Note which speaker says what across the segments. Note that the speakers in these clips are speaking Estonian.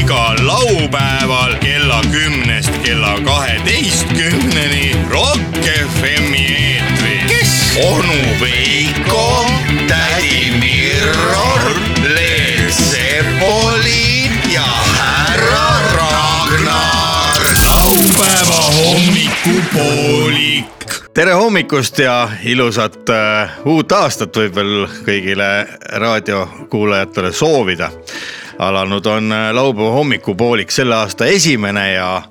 Speaker 1: igal laupäeval kella kümnest kella kaheteistkümneni Rock FM-i eetris . kes ? onu Veiko , tädi Mirror , Leel Sepoli ja härra Ragnar . laupäeva hommikupoolik . tere hommikust ja ilusat äh, uut aastat võib veel kõigile raadiokuulajatele soovida . alanud on äh, laupäeva hommikupoolik , selle aasta esimene ja ,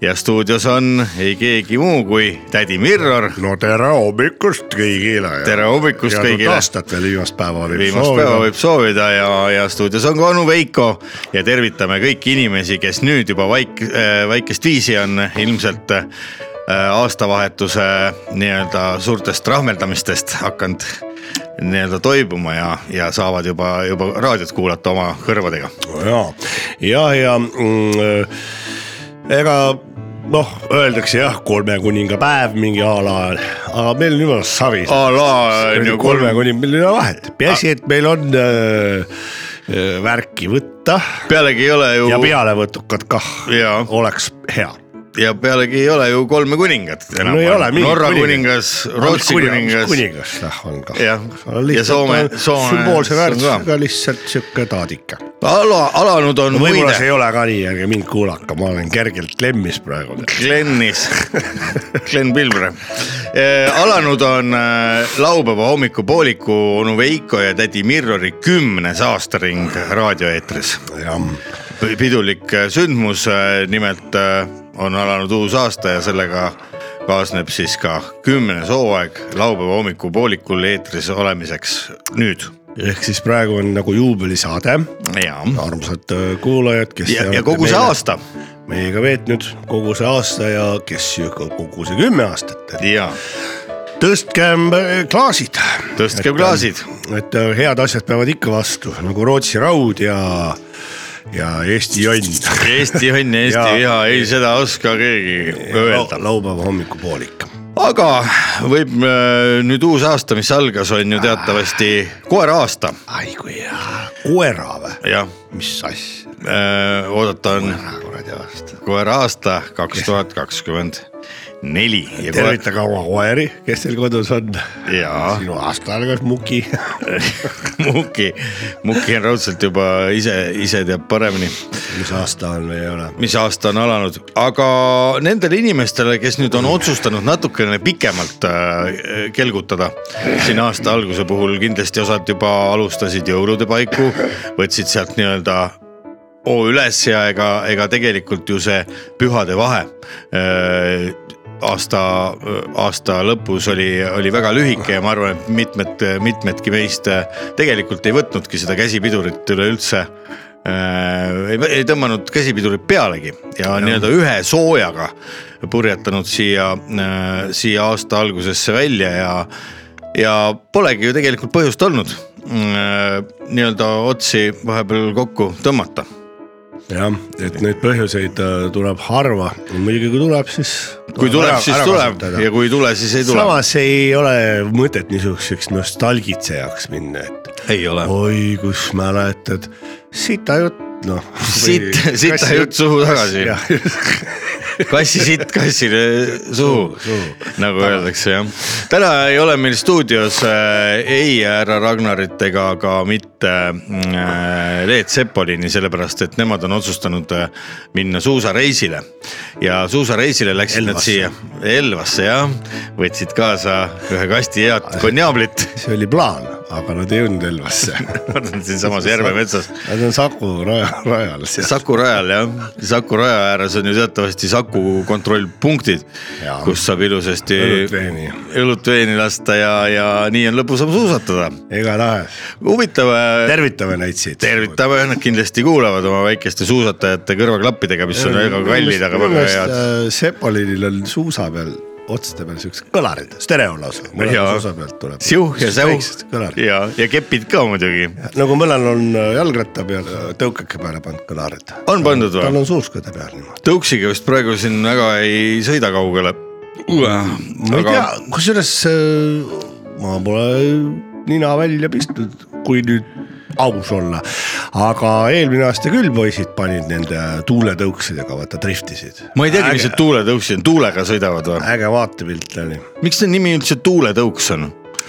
Speaker 1: ja stuudios on ei keegi muu kui tädi Mirror .
Speaker 2: no tere hommikust kõigile .
Speaker 1: Tere hommikust kõigile.
Speaker 2: head aastat veel , viimast päeva võib
Speaker 1: viimast päeva . võib soovida ja , ja stuudios on ka onu Veiko ja tervitame kõiki inimesi , kes nüüd juba vaik- , väikest viisi on ilmselt äh, aastavahetuse nii-öelda suurtest rahmeldamistest hakanud nii-öelda toibuma ja , ja saavad juba , juba raadiot kuulata oma kõrvadega .
Speaker 2: ja , ja , ja mm, ega noh , öeldakse jah , kolme kuninga päev mingi a la , aga meil on jumala savi .
Speaker 1: a la on ju kolme
Speaker 2: kolme kuninga , meil ei ole vahet , peaasi , et meil on äh, äh, värki võtta
Speaker 1: pealegi ei ole ju
Speaker 2: ja pealevõtukad kah
Speaker 1: Jaa.
Speaker 2: oleks hea .
Speaker 1: ja pealegi ei ole ju kolme kuningat enam .
Speaker 2: ei ole mingit
Speaker 1: Norra kuningas
Speaker 2: kuningat. ,
Speaker 1: Rootsi kuningas .
Speaker 2: kuningas noh on kah .
Speaker 1: Jah. Ja Soome- Soome-
Speaker 2: sümboolse
Speaker 1: see on ka.
Speaker 2: väärtusega lihtsalt sihuke taadike
Speaker 1: ala , alanud on
Speaker 2: võib-olla
Speaker 1: muide
Speaker 2: see ei ole ka nii , ärge mind kuulake , ma olen kergelt lemmis praegu .
Speaker 1: Glenis , Glen Pilvre . alanud on eh, laupäeva hommikupooliku onu Veiko ja tädi Mirrori kümnes aastaring raadioeetris .
Speaker 2: jah ,
Speaker 1: pidulik eh, sündmus , nimelt eh, on alanud uus aasta ja sellega kaasneb siis ka kümnes hooaeg laupäeva hommikupoolikul eetris olemiseks nüüd .
Speaker 2: ehk siis praegu on nagu juubelisaade ,
Speaker 1: ja ,
Speaker 2: armsad öö, kuulajad , kes .
Speaker 1: ja , ja kogu see . aasta
Speaker 2: meiega veetnud kogu see aasta ja kes ju ka kogu see kümme aastat , et
Speaker 1: ja
Speaker 2: tõstkem öö, klaasid .
Speaker 1: tõstke klaasid ,
Speaker 2: et öö, head asjad peavad ikka vastu nagu Rootsi raud ja , ja Eesti jonn .
Speaker 1: Eesti õnn ja Eesti
Speaker 2: Ja-
Speaker 1: viha , ei seda oska keegi öelda .
Speaker 2: laupäeva hommikupoolik .
Speaker 1: aga võib äh, nüüd uus aasta , mis algas , on ju teatavasti koera aasta ,
Speaker 2: ai kui hea , koera või ?
Speaker 1: jah .
Speaker 2: mis asja ,
Speaker 1: oodata on
Speaker 2: kuradi aasta .
Speaker 1: koera aasta kaks tuhat kakskümmend neli .
Speaker 2: tervitage oma koeri , kes teil kodus on .
Speaker 1: jaa ,
Speaker 2: sinu aasta algas Muki .
Speaker 1: Muki , Muki on raudselt juba ise , ise teab paremini ,
Speaker 2: mis aasta on või ei ole ?
Speaker 1: mis aasta on alanud , aga nendele inimestele , kes nüüd on otsustanud natukene pikemalt äh, kelgutada siin aasta alguse puhul kindlasti osad juba alustasid jõulude paiku , võtsid sealt nii-öelda hoo üles ja ega , ega tegelikult ju see pühade vahe öö, aasta , aasta lõpus oli , oli väga lühike ja ma arvan , et mitmed , mitmedki meist öö, tegelikult ei võtnudki seda käsipidurit üleüldse . ei , ei tõmmanud käsipidurit pealegi ja nii-öelda ühe soojaga purjetanud siia , siia aasta algusesse välja ja ja polegi ju tegelikult põhjust olnud öö, nii-öelda otsi vahepeal kokku tõmmata
Speaker 2: jah , et neid põhjuseid äh, tuleb harva , muidugi kui tuleb , siis .
Speaker 1: kui tuleb , siis tuleb ja kui ei tule , siis ei tule .
Speaker 2: samas ei ole mõtet niisuguseks nostalgitsejaks minna , et
Speaker 1: ei ole .
Speaker 2: oi , kus mäletad , sita jutt , noh .
Speaker 1: Sit- sita jutt suhu tagasi. kassi sitt kassile suhu, suhu. , nagu öeldakse jah . täna ei ole meil stuudios äh, ei härra Ragnarit ega ka mitte äh, Leet Sepolini , sellepärast et nemad on otsustanud äh, minna suusareisile . ja suusareisile läksid nad
Speaker 2: Elvasse.
Speaker 1: siia Elvasse jah , võtsid kaasa ühe kasti head konjaablit ,
Speaker 2: see oli plaan , aga nad ei jõudnud Elvasse .
Speaker 1: nad on siinsamas Järve metsas .
Speaker 2: Nad on Saku raja , rajal seal .
Speaker 1: Saku rajal jah , Saku raja ääres on ju teatavasti Saku kontrollpunktid
Speaker 2: Jaa. ,
Speaker 1: kus saab ilusasti
Speaker 2: Õlut veini.
Speaker 1: õlut veini lasta ja , ja nii on lõbusam suusatada .
Speaker 2: igatahes
Speaker 1: huvitav ,
Speaker 2: tervitame neid siit .
Speaker 1: tervitame , nad kindlasti kuulavad oma väikeste suusatajate kõrvaklappidega , mis on väga kallid , aga väga head .
Speaker 2: äh, Sepolinil on suusa peal , otsade peal siuksed kõlarid , stereo lausa .
Speaker 1: Jaa.
Speaker 2: suusa pealt tuleb .
Speaker 1: siuh ja säuh
Speaker 2: kõlarid .
Speaker 1: ja , ja kepid ka muidugi .
Speaker 2: nagu mõnel on äh, jalgratta peal , tõukeke peale pandud kõlarid .
Speaker 1: On pandud või?
Speaker 2: tal on suuskõde peal niimoodi .
Speaker 1: tõuksiga vist praegu siin väga ei sõida kaugele .
Speaker 2: ma ei
Speaker 1: aga
Speaker 2: tea , kusjuures äh, ma pole nina välja pistnud , kui nüüd aus olla . aga eelmine aasta küll poisid panid nende tuuletõuksidega , vaata driftisid .
Speaker 1: ma ei teagi , mis need tuuletõuksid on , tuulega sõidavad või ?
Speaker 2: äge vaatepilt oli ,
Speaker 1: miks see nimi üldse tuuletõuks on ?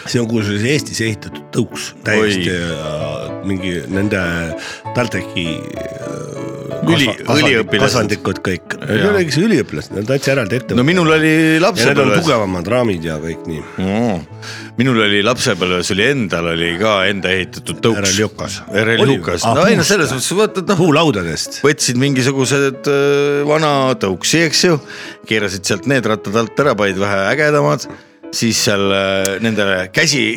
Speaker 2: see on kusjuures Eestis ehitatud tõuks , täiesti
Speaker 1: Oi.
Speaker 2: äh, mingi nende äh, TalTechi
Speaker 1: Üli- üliõpilased.
Speaker 2: kasandikud kõik , ei
Speaker 1: Jaa.
Speaker 2: ole ikka üliõpilased , need on täitsa eraldi
Speaker 1: no
Speaker 2: ettevõtted
Speaker 1: minul oli
Speaker 2: ja need on
Speaker 1: lapsepõlves ,
Speaker 2: tugevamad raamid ja kõik nii ,
Speaker 1: minul oli lapsepõlves oli endal oli ka enda ehitatud tõuks .
Speaker 2: RL Jukas.
Speaker 1: RL
Speaker 2: Oli
Speaker 1: Jukas ,
Speaker 2: või?
Speaker 1: no
Speaker 2: Ah,
Speaker 1: ei no
Speaker 2: puust
Speaker 1: selles
Speaker 2: või?
Speaker 1: mõttes vaata , et noh ,
Speaker 2: puulaudadest .
Speaker 1: võtsid mingisugused öö, vana tõuksi , eks ju , keerasid sealt need rattad alt ära , panid vähe ägedamad , siis seal öö, nendele käsi ,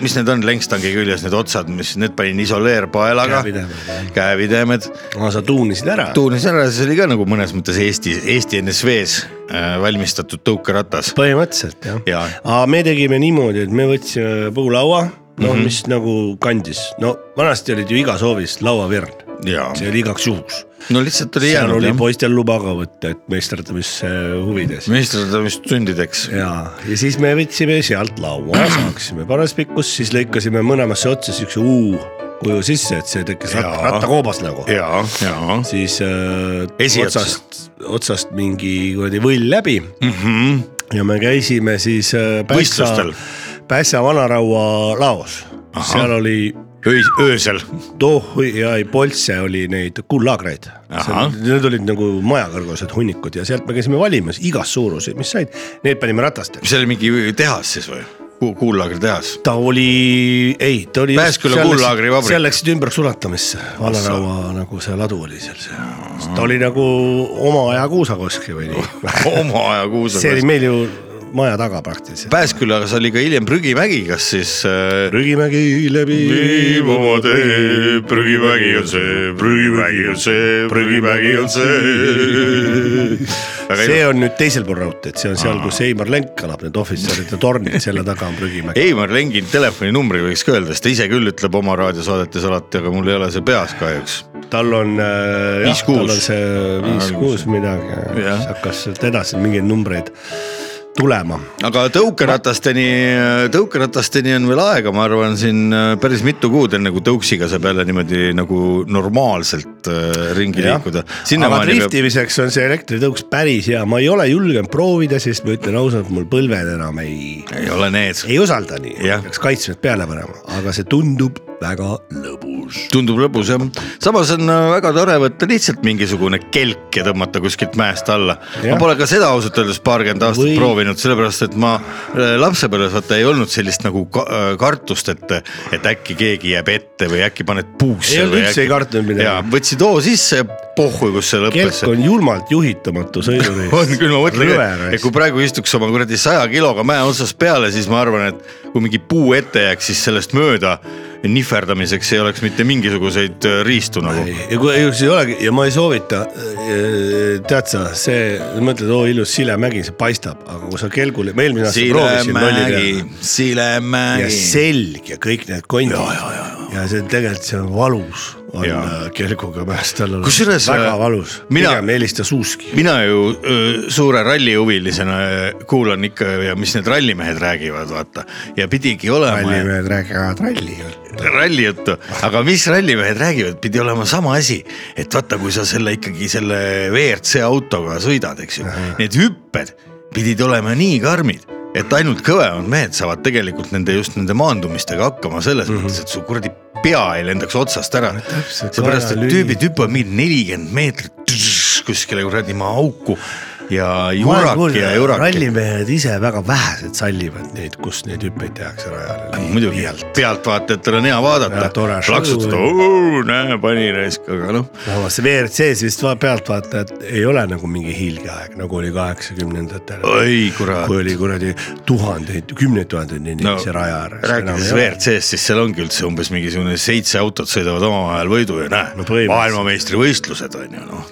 Speaker 1: mis need on , längstangi küljes need otsad , mis need panin isoleerpaelaga ,
Speaker 2: Käepidemed, jah.
Speaker 1: käepidemed ,
Speaker 2: aa , sa tuunisid ära ?
Speaker 1: tuunis ära , see oli ka nagu mõnes mõttes Eesti , Eesti NSV-s öö, äh, valmistatud tõukeratas .
Speaker 2: põhimõtteliselt jah
Speaker 1: Jaa.
Speaker 2: aga me tegime niimoodi , et me võtsime puulaua , noh mm
Speaker 1: Mhm.
Speaker 2: -hmm. mis nagu kandis , no vanasti olid ju igas hoovis lauavirn ,
Speaker 1: jaa ,
Speaker 2: see oli igaks juhuks .
Speaker 1: no lihtsalt oli
Speaker 2: seal
Speaker 1: jäänud
Speaker 2: oli
Speaker 1: jah ,
Speaker 2: poistel luba ka võtta , et meisterdamise huvides
Speaker 1: meisterdamist sündideks .
Speaker 2: ja , ja siis me võtsime sealt laua , saaksime paras pikkus , siis lõikasime mõlemasse otsa siukse U kuju sisse , et see tekkis rat,
Speaker 1: Jaa.
Speaker 2: rattakoobas nagu .
Speaker 1: jaa , jaa
Speaker 2: siis äh,
Speaker 1: Esiotsas.
Speaker 2: otsast , otsast mingi kuradi võll läbi
Speaker 1: mm . -hmm.
Speaker 2: ja me käisime siis äh, Pässa
Speaker 1: Võistlustel. ,
Speaker 2: Pässa vanaraua laos . seal oli ,
Speaker 1: Öis, öösel
Speaker 2: toh ja ei poltse oli neid kullaagreid .
Speaker 1: Ahah.
Speaker 2: Need olid nagu majakõrgused hunnikud ja sealt me käisime valimas igas suuruses , mis said , need panime ratastele .
Speaker 1: see oli mingi tehas siis või Ku ? kuullaagri tehas .
Speaker 2: ta oli , ei , ta oli .
Speaker 1: Pääsküla kullaagri vabrik.
Speaker 2: seal läksid ümber sulatamisse , vanaraua nagu see ladu oli seal see . ta oli nagu oma aja kuusakoski või nii .
Speaker 1: oma aja
Speaker 2: see oli
Speaker 1: kuusakas .
Speaker 2: meil ju maja taga praktiliselt .
Speaker 1: Pääskülas oli ka hiljem prügimägi , kas siis äh, ?
Speaker 2: prügimägi läbi .
Speaker 1: see , prügimägi on see , prügimägi on see . väga
Speaker 2: see
Speaker 1: ilus .
Speaker 2: on nüüd teisel pool raudteed , see on seal , kus Heimar Lenk elab , need ohvitseride tornid , selle taga on prügimägi .
Speaker 1: Heimar Lengi telefoninumbri võiks ka öelda , sest ta ise küll ütleb oma raadiosaadetes alati , aga mul ei ole see peas kahjuks .
Speaker 2: tal on äh, jah ,
Speaker 1: Viis-kuus.
Speaker 2: tal on see viis-kuus midagi ,
Speaker 1: Jah.
Speaker 2: hakkas sealt edasi mingeid numbreid tulema .
Speaker 1: aga tõukeratasteni , tõukeratasteni on veel aega , ma arvan , siin äh, päris mitu kuud , enne kui tõuksiga saab jälle niimoodi nagu normaalselt äh, ringi liikuda .
Speaker 2: aga driftimiseks on see elektritõuks päris hea , ma ei ole julgenud proovida , sest ma ütlen ausalt , mul põlved enam ei ,
Speaker 1: ei ole need ,
Speaker 2: ei usalda nii ,
Speaker 1: Jah.
Speaker 2: peaks kaitsmed peale panema , aga see tundub väga lõbus .
Speaker 1: tundub lõbus jah , samas on äh, väga tore võtta lihtsalt mingisugune kelk ja tõmmata kuskilt mäest alla . ma
Speaker 2: Jah.
Speaker 1: pole ka seda ausalt öeldes paarkümmend aastat
Speaker 2: Või-
Speaker 1: proovinud , sellepärast et ma äh, lapsepõlves vaata ei olnud sellist nagu ka äh, kartust , et , et äkki keegi jääb ette või äkki paned puusse .
Speaker 2: Ei olnud üldse ei kartnud midagi.
Speaker 1: jaa , võtsid hoo sisse ja pohhui , kus see lõppes
Speaker 2: kelk . on julmalt juhitamatu sõidureis .
Speaker 1: on küll , ma mõtlen , et kui praegu istuks oma kuradi saja kiloga mäe otsas peale , siis ma arvan , et kui mingi puu ette jääks , siis sellest mööda nihverdamiseks ei oleks mitte mingisuguseid äh, riistu nagu .
Speaker 2: ja kui ei, ei olegi ja ma ei soovita , tead sa , see , mõtled , oo ilus silemägi , see paistab , aga kui sa kelgule , ma eelmine aasta proovisin
Speaker 1: Silemägi
Speaker 2: rolliga , ja
Speaker 1: Silemägi .
Speaker 2: selg ja kõik need kondid ja, ja, ja, ja. ja see on tegelikult , see on valus , on
Speaker 1: Jaa.
Speaker 2: äh, kelguga päästa olla .
Speaker 1: Kusjuures,
Speaker 2: väga
Speaker 1: äh,
Speaker 2: valus ,
Speaker 1: mina-
Speaker 2: pigem helista suuski .
Speaker 1: mina ju öö, suure rallihuvilisena öö, kuulan ikka ja mis need rallimehed räägivad , vaata ja pidigi olema
Speaker 2: rallimehed räägivad ralli .
Speaker 1: ralli juttu , aga mis rallimehed räägivad , pidi olema sama asi , et vaata , kui sa selle ikkagi selle WRC autoga sõidad , eks ju , need hüpped pidid olema nii karmid , et ainult kõvemad mehed saavad tegelikult nende just nende maandumistega hakkama selles mm -hmm. mõttes , et su kuradi pea ei lendaks otsast ära .
Speaker 2: täpselt,
Speaker 1: seepärast , et
Speaker 2: kaela
Speaker 1: tüübid hüppavad mingi nelikümmend meetrit tšš, kuskile kuradi maa auku ja jurak ja jurak .
Speaker 2: rallimehed ise väga vähesed sallivad neid , kus neid hüppeid tehakse rajale .
Speaker 1: muidugi , pealtvaatajatel on hea vaadata
Speaker 2: Ja, , tore show.
Speaker 1: plaksutada , oo näe , pani raisk , aga noh
Speaker 2: samas see WRC-s vist va- pealtvaatajad ei ole nagu mingi hiilgeaeg , nagu oli kaheksakümnendatel .
Speaker 1: oi kurat
Speaker 2: kui , oli kuradi tuhandeid , kümneid tuhandeid inimesi no, raja ääres .
Speaker 1: rääkides . WRC-st , siis seal ongi üldse umbes mingisugune seitse autot sõidavad omavahel võidu ja näe
Speaker 2: No
Speaker 1: no, ,
Speaker 2: põhimõtteliselt.
Speaker 1: maailmameistrivõistlused on ju noh .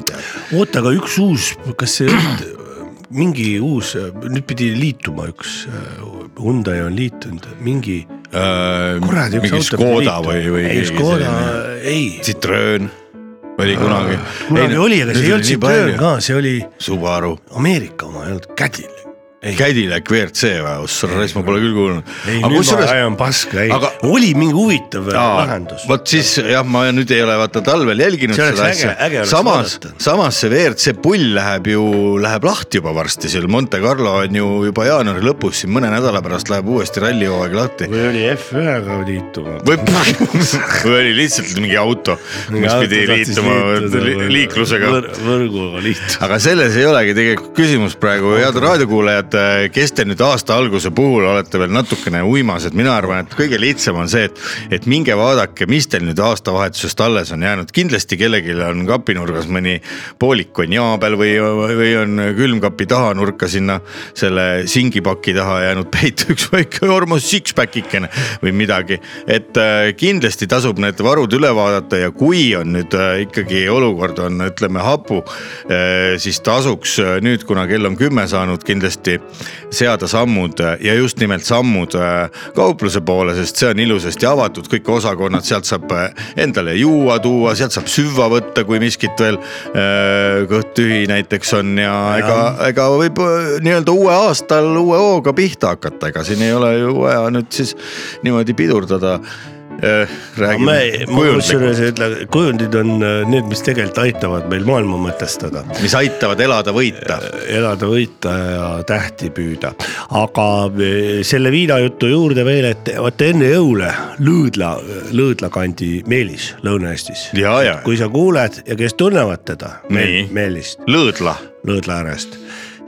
Speaker 2: oota , aga üks uus , kas see mingi uus , nüüd pidi liituma üks , Hyundai on liitunud , mingi
Speaker 1: Äh,
Speaker 2: kuradi üks
Speaker 1: mingi
Speaker 2: auto .
Speaker 1: Škoda või , või
Speaker 2: ei , Škoda , ei ,
Speaker 1: Citroen oli kunagi .
Speaker 2: kunagi oli , aga see ei olnud Citroen . ka , see oli
Speaker 1: Subaru ,
Speaker 2: Ameerika oma , ei olnud Cadillac .
Speaker 1: Cadillac WRC või , ossa , ma pole küll kuulnud .
Speaker 2: ei , nüüd ma ajan paska , ei
Speaker 1: aga-
Speaker 2: aga... , oli mingi huvitav
Speaker 1: Jaa,
Speaker 2: lahendus .
Speaker 1: vot siis jah , ma nüüd ei ole vaata talvel jälginud
Speaker 2: See oleks
Speaker 1: seda
Speaker 2: äge- äge
Speaker 1: asja ,
Speaker 2: oleks
Speaker 1: samas
Speaker 2: vaadata. ,
Speaker 1: samas see WRC pull läheb ju , läheb lahti juba varsti seal , Monte Carlo on ju juba jaanuari lõpus , siin mõne nädala pärast läheb uuesti rallihooaeg lahti .
Speaker 2: või oli F1-ga liituma .
Speaker 1: või , või oli lihtsalt mingi auto , mis pidi liituma li- liiklusega .
Speaker 2: võrguga liituma .
Speaker 1: aga selles ei olegi tegelikult küsimus praegu , head raadiokuulajad , kes te nüüd aasta alguse puhul olete veel natukene uimased , mina arvan , et kõige lihtsam on see , et , et minge vaadake , mis teil nüüd aastavahetusest alles on jäänud , kindlasti kellelgi on kapinurgas mõni poolik konjaa peal või , või on külmkapi taha nurka sinna selle singipaki taha jäänud peitu üks väike Hormuz six-packikene või midagi , et äh, kindlasti tasub need varud üle vaadata ja kui on nüüd äh, ikkagi olukord on , ütleme hapu , siis tasuks äh, nüüd , kuna kell on kümme saanud , kindlasti seada sammud äh, ja just nimelt sammud äh, kaupluse poole , sest see on ilusasti avatud , kõik osakonnad , sealt saab äh, endale juua tuua , sealt saab süva võtta , kui miskit veel äh, kõht tühi näiteks on ja ega , ega võib äh, nii-öelda uue aastal uue hooga pihta hakata , ega siin ei ole ju vaja nüüd siis niimoodi pidurdada .
Speaker 2: ma
Speaker 1: räägime
Speaker 2: ei , ma
Speaker 1: kujundlikult ,
Speaker 2: kusjuures ei ütle , kujundid on äh, need , mis tegelikult aitavad meil maailma mõtestada ,
Speaker 1: mis aitavad elada , võita
Speaker 2: elada , võita ja tähti püüda . aga äh, selle viinajutu juurde veel , et vaata enne jõule Lõõdla , Lõõdla kandi Meelis Lõuna-Eestis .
Speaker 1: ja , ja
Speaker 2: kui sa kuuled ja kes tunnevad teda ,
Speaker 1: Nii.
Speaker 2: Meelist ,
Speaker 1: Lõõdla .
Speaker 2: Lõõdla äärest ,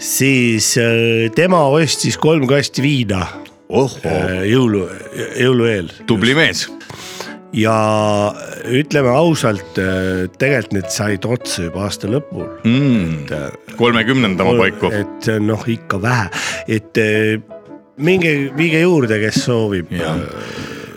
Speaker 2: siis äh, tema ostis kolm kasti viina
Speaker 1: ohoo ,
Speaker 2: äh, jõulu , jõulu eel
Speaker 1: tubli mees .
Speaker 2: ja ütleme ausalt , tegelikult need said otsa juba aasta lõpul . Äh,
Speaker 1: kolmekümnendama paiku .
Speaker 2: et see on noh , ikka vähe , et eh, minge , viige juurde , kes soovib .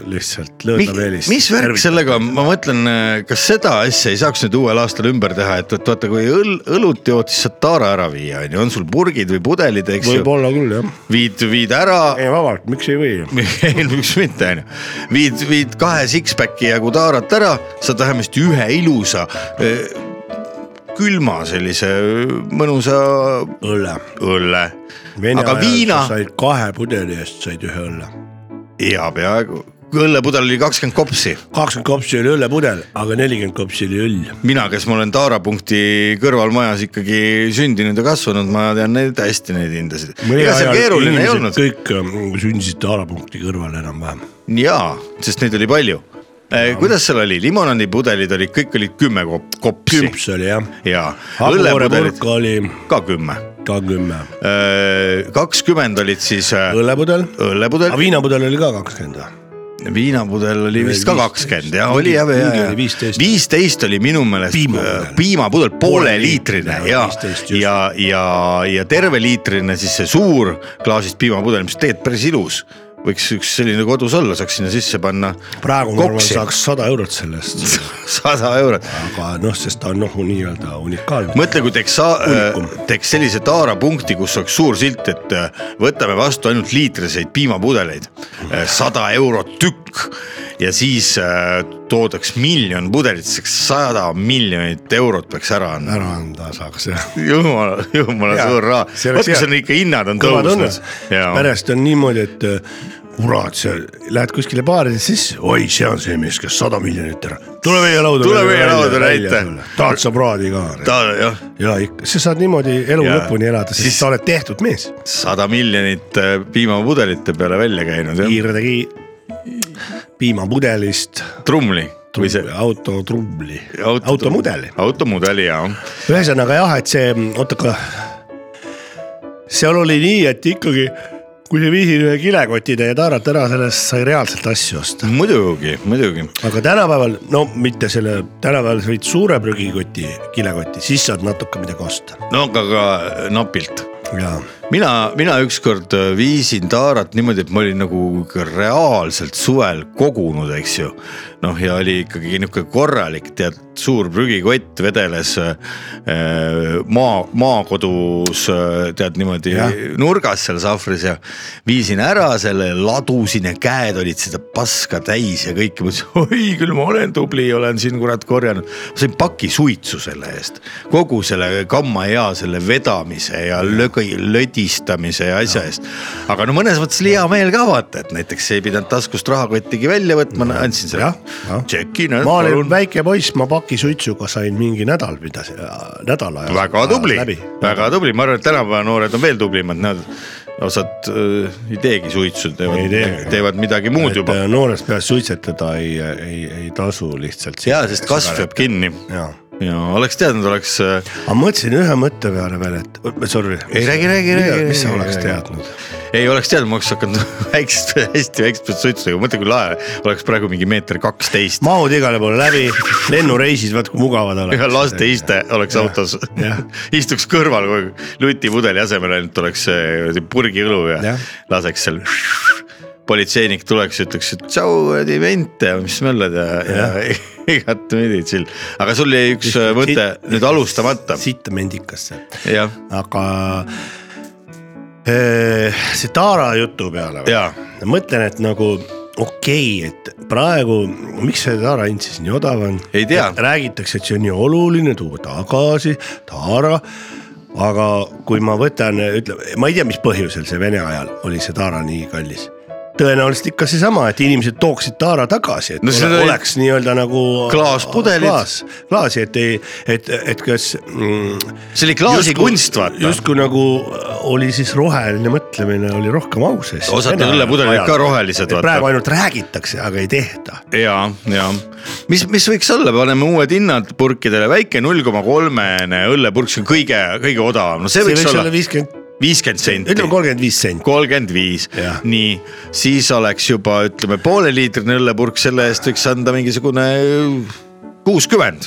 Speaker 2: lihtsalt lõõda meelist .
Speaker 1: mis värk ? sellega on , ma mõtlen , kas seda asja ei saaks nüüd uuel aastal ümber teha , et , et vaata , kui õl- , õlut jood , siis saad taara ära viia , onju , on sul purgid või pudelid , eks ju ,
Speaker 2: võib-olla küll jah ,
Speaker 1: viid , viid ära
Speaker 2: ei vabalt , miks ei või ?
Speaker 1: ei , miks mitte , onju . viid , viid kahe six-pack'i jagu taarat ära , saad vähemasti ühe ilusa , külma sellise äh, mõnusa
Speaker 2: õlle .
Speaker 1: õlle . aga viina
Speaker 2: said kahe pudeli eest said ühe õlle .
Speaker 1: ja peaaegu , õllepudel oli kakskümmend kopsi .
Speaker 2: kakskümmend kopsi oli õllepudel , aga nelikümmend kopsi oli õll .
Speaker 1: mina , kes ma olen taarapunkti kõrval majas ikkagi sündinud ja kasvanud , ma tean neid hästi neid hindasid . ega seal keeruline ei olnud
Speaker 2: kõik mm, sündisid taarapunkti kõrval enam-vähem .
Speaker 1: jaa , sest neid oli palju . kuidas seal oli , limonaadipudelid olid , kõik olid kümme kop- kopsi
Speaker 2: küps oli jah .
Speaker 1: ja õllepudelid
Speaker 2: hagukoorepurk oli
Speaker 1: ka kümme .
Speaker 2: ka kümme ,
Speaker 1: kakskümmend olid siis äh,
Speaker 2: õllepudel ,
Speaker 1: õllepudel
Speaker 2: aga , viinapudel oli ka kakskümmend või ?
Speaker 1: viinapudel oli vist ka
Speaker 2: viis-
Speaker 1: kakskümmend ja oli jah ,
Speaker 2: mingi oli
Speaker 1: jah ,
Speaker 2: 15.
Speaker 1: viisteist oli minu meelest
Speaker 2: Piimapudel.
Speaker 1: äh, piimapudel pooleliitrine
Speaker 2: Pooleliitrine,
Speaker 1: ja
Speaker 2: 15 , just.
Speaker 1: ja , ja , ja terveliitrine siis see suur klaasist piimapudel , mis tegelikult päris ilus võiks üks selline kodus olla , saaks sinna sisse panna
Speaker 2: praegu ma arvan ,
Speaker 1: Koksi.
Speaker 2: saaks sada eurot selle eest ,
Speaker 1: sada eurot .
Speaker 2: aga noh , sest ta on noh , nii-öelda unikaalne .
Speaker 1: mõtle , kui teeks sa- äh,
Speaker 2: Unikum. ,
Speaker 1: teeks sellise taarapunkti , kus oleks suur silt , et äh, võtame vastu ainult liitriseid piimapudeleid , sada eurot tükk ja siis äh, toodaks miljon pudelit , sada miljonit eurot peaks ära andma .
Speaker 2: ära anda saaks jah .
Speaker 1: jumala , jumala
Speaker 2: Jaa,
Speaker 1: suur raha ,
Speaker 2: see oleks
Speaker 1: vot kas
Speaker 2: hea.
Speaker 1: on ikka hinnad on
Speaker 2: kõvad õnned
Speaker 1: tõusnud ., ja ,
Speaker 2: pärast on niimoodi , et äh, kurat , sa lähed kuskile baari sisse , oi , see on see mees , kes sada miljonit ära , tule meie lauda .
Speaker 1: Tule meie lauda, näita. .
Speaker 2: tahad sa praadi ka ?
Speaker 1: ta jah ,
Speaker 2: ja ikka , sa saad niimoodi elu
Speaker 1: Jaa.
Speaker 2: lõpuni elada ,
Speaker 1: Siis-
Speaker 2: siis sa oled tehtud mees .
Speaker 1: sada miljonit äh, piimapudelite peale välja käinud jah ,
Speaker 2: piirdegi piimapudelist
Speaker 1: trumli või see
Speaker 2: auto trubli ,
Speaker 1: Auto-
Speaker 2: automudeli .
Speaker 1: automudeli ja ,
Speaker 2: ühesõnaga jah , et see , oota , aga seal oli nii , et ikkagi , kui sa viisid ühe kilekotide ja taarad ära , sellest sai reaalselt asju osta .
Speaker 1: muidugi , muidugi
Speaker 2: aga tänapäeval , no mitte selle , tänapäeval sa võid suure prügikoti , kilekoti , siis saad natuke midagi osta .
Speaker 1: no aga ka äh, napilt .
Speaker 2: ja
Speaker 1: mina , mina ükskord äh, viisin taarat niimoodi , et ma olin nagu ikka reaalselt suvel kogunud , eks ju . noh , ja oli ikkagi niisugune korralik , tead , suur prügikott vedeles äh, maa , maakodus äh, tead niimoodi
Speaker 2: Jah.
Speaker 1: nurgas seal sahvris ja viisin ära selle , ladusin ja käed olid seda paska täis ja kõike , mõtlesin , oi küll ma olen tubli , olen siin kurat korjanud . sain paki suitsu selle eest , kogu selle gamma ja selle vedamise ja lögi , lödistamise ja asja eest . aga no mõnes mõttes oli hea meel ka vaata , et näiteks ei pidanud taskust rahakottigi välja võtma , andsin selle
Speaker 2: Jah, jah.
Speaker 1: tšeki , näed
Speaker 2: ma olin
Speaker 1: palun .
Speaker 2: väike poiss , ma pakisuitsuga sain mingi nädal pidasin , nädal ajas .
Speaker 1: väga tubli
Speaker 2: läbi .,
Speaker 1: väga tubli , ma arvan , et tänapäeva noored on veel tublimad , nad osad äh, ei teegi suitsu ,
Speaker 2: Ei
Speaker 1: teevad
Speaker 2: tee. ,
Speaker 1: teevad midagi muud juba .
Speaker 2: et äh, eh, noorest peast suitsetada ei , ei , ei tasu lihtsalt .
Speaker 1: ja sest kasv jääb kinni
Speaker 2: jaa ,
Speaker 1: ja oleks teadnud , oleks . äh,
Speaker 2: aga mõtlesin ühe mõtte peale veel , et eh, sorry .
Speaker 1: Ei, räägi, räägi, räägi,
Speaker 2: mis sa
Speaker 1: räägi,
Speaker 2: oleks
Speaker 1: räägi.
Speaker 2: teadnud ?
Speaker 1: ei oleks teadnud , ma oleks hakanud väikest , hästi väikest pealt suitsu tegema , mõtle kui lahe oleks praegu mingi meeter kaksteist .
Speaker 2: mahud igale poole läbi , lennureisid , vaat kui mugavad
Speaker 1: ja
Speaker 2: oleks .
Speaker 1: laste iste oleks
Speaker 2: Jah,
Speaker 1: autos
Speaker 2: jah. ,
Speaker 1: istuks kõrval kogu aeg , lutipudeli asemel ainult oleks see purgi õlu ja, ja.
Speaker 2: Jah.
Speaker 1: laseks seal . politseinik tuleks , ütleks , et tšau , kuradi mente , mis möllad ja, ja. , ja igatpidi chill . aga sul jäi üks äh, mõte nüüd alustamata ,
Speaker 2: sitta mendikasse ,
Speaker 1: jah ,
Speaker 2: aga eh, see Taara jutu peale .
Speaker 1: ja
Speaker 2: mõtlen , et nagu okei okay, , et praegu , miks see Taara hind siis nii odav on ?
Speaker 1: Ei tea.
Speaker 2: räägitakse , et see on nii oluline tuua tagasi Taara . aga kui ma võtan , ütleme , ma ei tea , mis põhjusel see Vene ajal oli see Taara nii kallis tõenäoliselt ikka seesama , et inimesed tooksid taara tagasi , et
Speaker 1: No
Speaker 2: no,
Speaker 1: seda ei-
Speaker 2: oleks nii-öelda nagu
Speaker 1: Klaaspudelid.
Speaker 2: klaas , klaasi , et ei , et , et kas mm,
Speaker 1: see oli klaasikunst , vaata .
Speaker 2: justkui nagu oli siis roheline mõtlemine oli rohkem au sees .
Speaker 1: Osad õllepudelid ka rohelised, vaata.
Speaker 2: praegu ainult räägitakse , aga ei tehta .
Speaker 1: ja , ja mis , mis võiks olla , paneme uued hinnad purkidele , väike null koma kolmene õllepurk , see on kõige , kõige odavam , no see
Speaker 2: see
Speaker 1: võiks olla
Speaker 2: viiskümmend ,
Speaker 1: viiskümmend senti ,
Speaker 2: ütleme kolmkümmend viis senti .
Speaker 1: kolmkümmend viis
Speaker 2: Jah. ,
Speaker 1: nii , siis oleks juba ütleme pooleliitrine õllepurk , selle eest võiks anda mingisugune kuuskümmend ,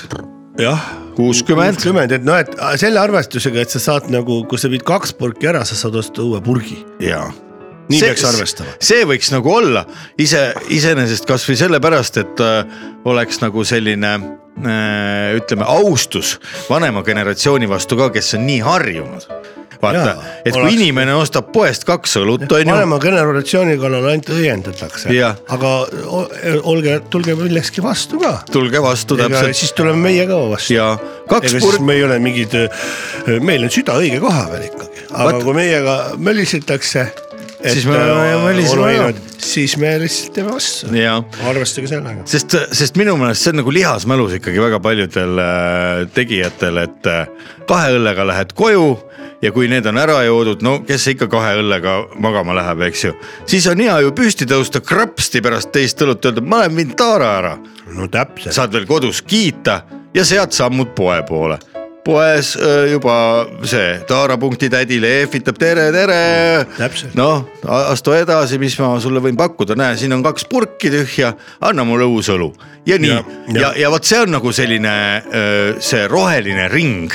Speaker 2: jah .
Speaker 1: kuuskümmend ,
Speaker 2: kuuskümmend , et noh , et selle arvestusega , et sa saad nagu , kui sa viid kaks purki ära , sa saad osta uue purgi .
Speaker 1: jaa See-
Speaker 2: nii see, peaks arvestama .
Speaker 1: see võiks nagu olla ise iseenesest kasvõi sellepärast , et äh, oleks nagu selline äh, ütleme austus vanema generatsiooni vastu ka , kes on nii harjunud . vaata
Speaker 2: Jaa, ,
Speaker 1: et kui
Speaker 2: oleks.
Speaker 1: inimene ostab poest kaks õlut , onju ,
Speaker 2: vanema generatsiooni kallal ainult õiendatakse
Speaker 1: Jah. ,
Speaker 2: aga o- olge , tulge millekski vastu ka .
Speaker 1: tulge vastu
Speaker 2: ega
Speaker 1: täpselt
Speaker 2: siis tuleme meie ka vastu .
Speaker 1: ja kaks
Speaker 2: ega siis
Speaker 1: purki ,
Speaker 2: me ei ole mingid , meil on süda õige koha peal ikkagi , aga
Speaker 1: Vaat-
Speaker 2: Vaat... kui meiega mölisetakse .
Speaker 1: Siis me möliseme ära.
Speaker 2: siis me lihtsalt teeme vastu ,
Speaker 1: jaa
Speaker 2: arvestage sellega .
Speaker 1: sest , sest minu meelest see on nagu lihasmälus ikkagi väga paljudel äh, tegijatel , et äh, kahe õllega lähed koju ja kui need on ära joodud , no kes ikka kahe õllega magama läheb , eks ju . siis on hea ju püsti tõusta krapsti pärast teist õlut , öelda ma olen viinud taara ära ,
Speaker 2: no täpselt ,
Speaker 1: saad veel kodus kiita ja sealt sammud poe poole poes äh, juba see taarapunkti tädile ehvitab tere , tere .
Speaker 2: Mm, Täpselt.
Speaker 1: noh , astu edasi , mis ma sulle võin pakkuda , näe , siin on kaks purki tühja , anna mulle uus õlu ja nii ja
Speaker 2: Ja, , ja.
Speaker 1: ja, ja vot see on nagu selline öö, see roheline ring .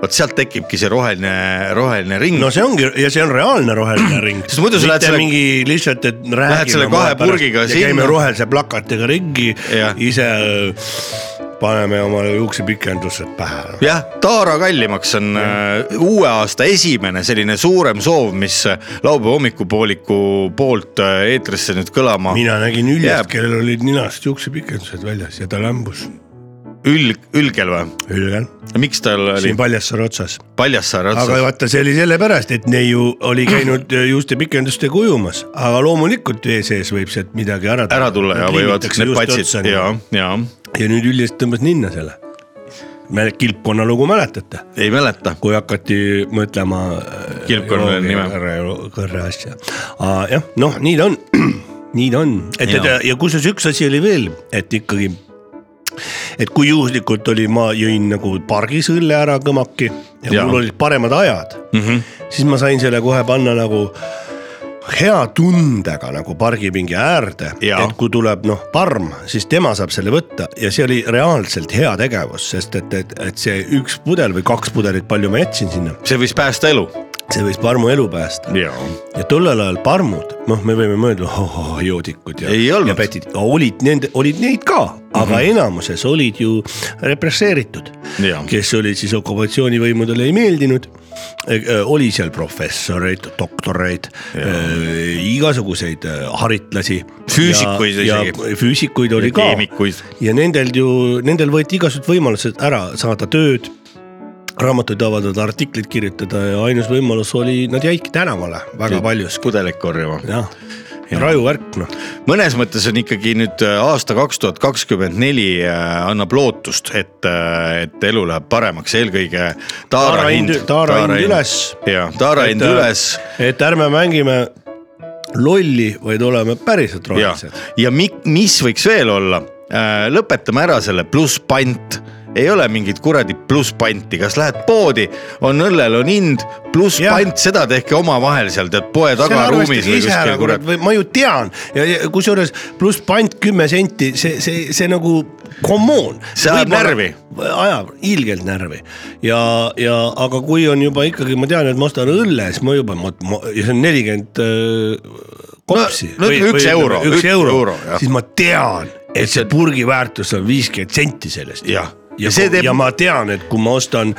Speaker 1: vot sealt tekibki see roheline , roheline ring
Speaker 2: no
Speaker 1: no, .
Speaker 2: see ongi ja see on reaalne roheline ring .
Speaker 1: Sest muidu sa lähed selle-
Speaker 2: mingi lihtsalt , et
Speaker 1: Lähed
Speaker 2: räägime .
Speaker 1: selle kahe purgiga
Speaker 2: sinna . käime
Speaker 1: sinna.
Speaker 2: rohelise plakatiga ringi
Speaker 1: Jah. ,
Speaker 2: ise öö, paneme omale juuksepikendused pähe .
Speaker 1: jah , taara kallimaks on öö, uue aasta esimene selline suurem soov , mis äh, laupäeva hommikupooliku poolt öö, eetrisse nüüd kõlama Mina...
Speaker 2: mina nägin Üljat
Speaker 1: Jääb. ,
Speaker 2: kellel olid ninast juuksepikendused väljas ja ta lämbus
Speaker 1: ülg , ülgel või ?
Speaker 2: Üljal ,
Speaker 1: miks tal oli
Speaker 2: siin Paljassaare otsas
Speaker 1: Paljassaare
Speaker 2: aga
Speaker 1: otsas ?
Speaker 2: vaata , see oli sellepärast , et neiu oli käinud juustepikendustega ujumas , aga loomulikult vee sees võib sealt midagi ära
Speaker 1: ära tulla ja võivad need patsid ja , ja
Speaker 2: noh. ja nüüd üldist tõmbas ninna selle . me kilpkonna lugu mäletate ,
Speaker 1: ei mäleta .
Speaker 2: kui hakati mõtlema . äh,
Speaker 1: Kilpkonna nime. .
Speaker 2: kõrre asja , jah , noh , nii ta on , nii ta on , et , et
Speaker 1: Jaa.
Speaker 2: ja kusjuures üks asi oli veel , et ikkagi et kui juhuslikult oli , ma jõin nagu pargis õlle ära kõmaki ja,
Speaker 1: Jaa.
Speaker 2: ja. mul olid paremad ajad
Speaker 1: Mm -hmm.
Speaker 2: siis ma sain selle kohe panna nagu hea tundega nagu pargipingi äärde ,
Speaker 1: Jaa.
Speaker 2: et kui tuleb noh , parm , siis tema saab selle võtta ja see oli reaalselt hea tegevus , sest et , et , et see üks pudel või kaks pudelit , palju ma jätsin sinna ,
Speaker 1: see võis päästa elu
Speaker 2: see võis Parmu elu päästa .
Speaker 1: jaa .
Speaker 2: ja tollel ajal parmud , noh , me võime mõelda oh, , joodikud ja .
Speaker 1: Ei olnud. Mhm.
Speaker 2: ja pätid , olid nende , olid neid ka , aga mm -hmm. enamuses olid ju represseeritud ,
Speaker 1: jaa ,
Speaker 2: kes olid siis okupatsioonivõimudele ei meeldinud . oli seal professoreid , doktoreid , igasuguseid eh, haritlasi .
Speaker 1: Füüsikuid isegi.
Speaker 2: isegi . füüsikuid oli ka .
Speaker 1: keemikuid .
Speaker 2: ja nendel ju , nendel võeti igasugused võimalused ära saada tööd , raamatuid avaldada , artikleid kirjutada ja ainus võimalus oli , nad jäidki tänavale väga paljuski ,
Speaker 1: pudelik korjama .
Speaker 2: jah . raju värk noh ,
Speaker 1: mõnes mõttes on ikkagi nüüd äh, aasta kaks tuhat kakskümmend neli äh, annab lootust , et , et elu läheb paremaks , eelkõige taara
Speaker 2: Taara
Speaker 1: hind
Speaker 2: hind- . taara hind üles.
Speaker 1: jah , taara
Speaker 2: Et,
Speaker 1: hind
Speaker 2: äh,
Speaker 1: üles
Speaker 2: et ärme mängime lolli , vaid oleme päriselt
Speaker 1: ja ,
Speaker 2: rohelised .
Speaker 1: ja mi- , mis võiks veel olla , lõpetame ära selle plusspant ei ole mingit kuradi plusspanti , kas lähed poodi , on õllel on hind , plusspant , seda tehke omavahel seal tead poe tagaruumis või kuskil kurat .
Speaker 2: ma ju tean ja, ja kusjuures pluss pant kümme senti , see , see , see nagu come on .
Speaker 1: See ajab närvi. .
Speaker 2: ajab ilgelt närvi ja , ja aga kui on juba ikkagi , ma tean , et ma ostan õlle , siis ma juba , ma, ma , ja see on nelikümmend äh, kopsi
Speaker 1: no ütleme üks
Speaker 2: ütleme,
Speaker 1: euro,
Speaker 2: üks
Speaker 1: üks euro,
Speaker 2: euro ,
Speaker 1: jah.
Speaker 2: siis ma tean , et see purgi väärtus on viiskümmend senti sellest .
Speaker 1: Jah.
Speaker 2: ja
Speaker 1: Ja see
Speaker 2: see
Speaker 1: teeb-
Speaker 2: teeb . ja ma tean , et kui ma ostan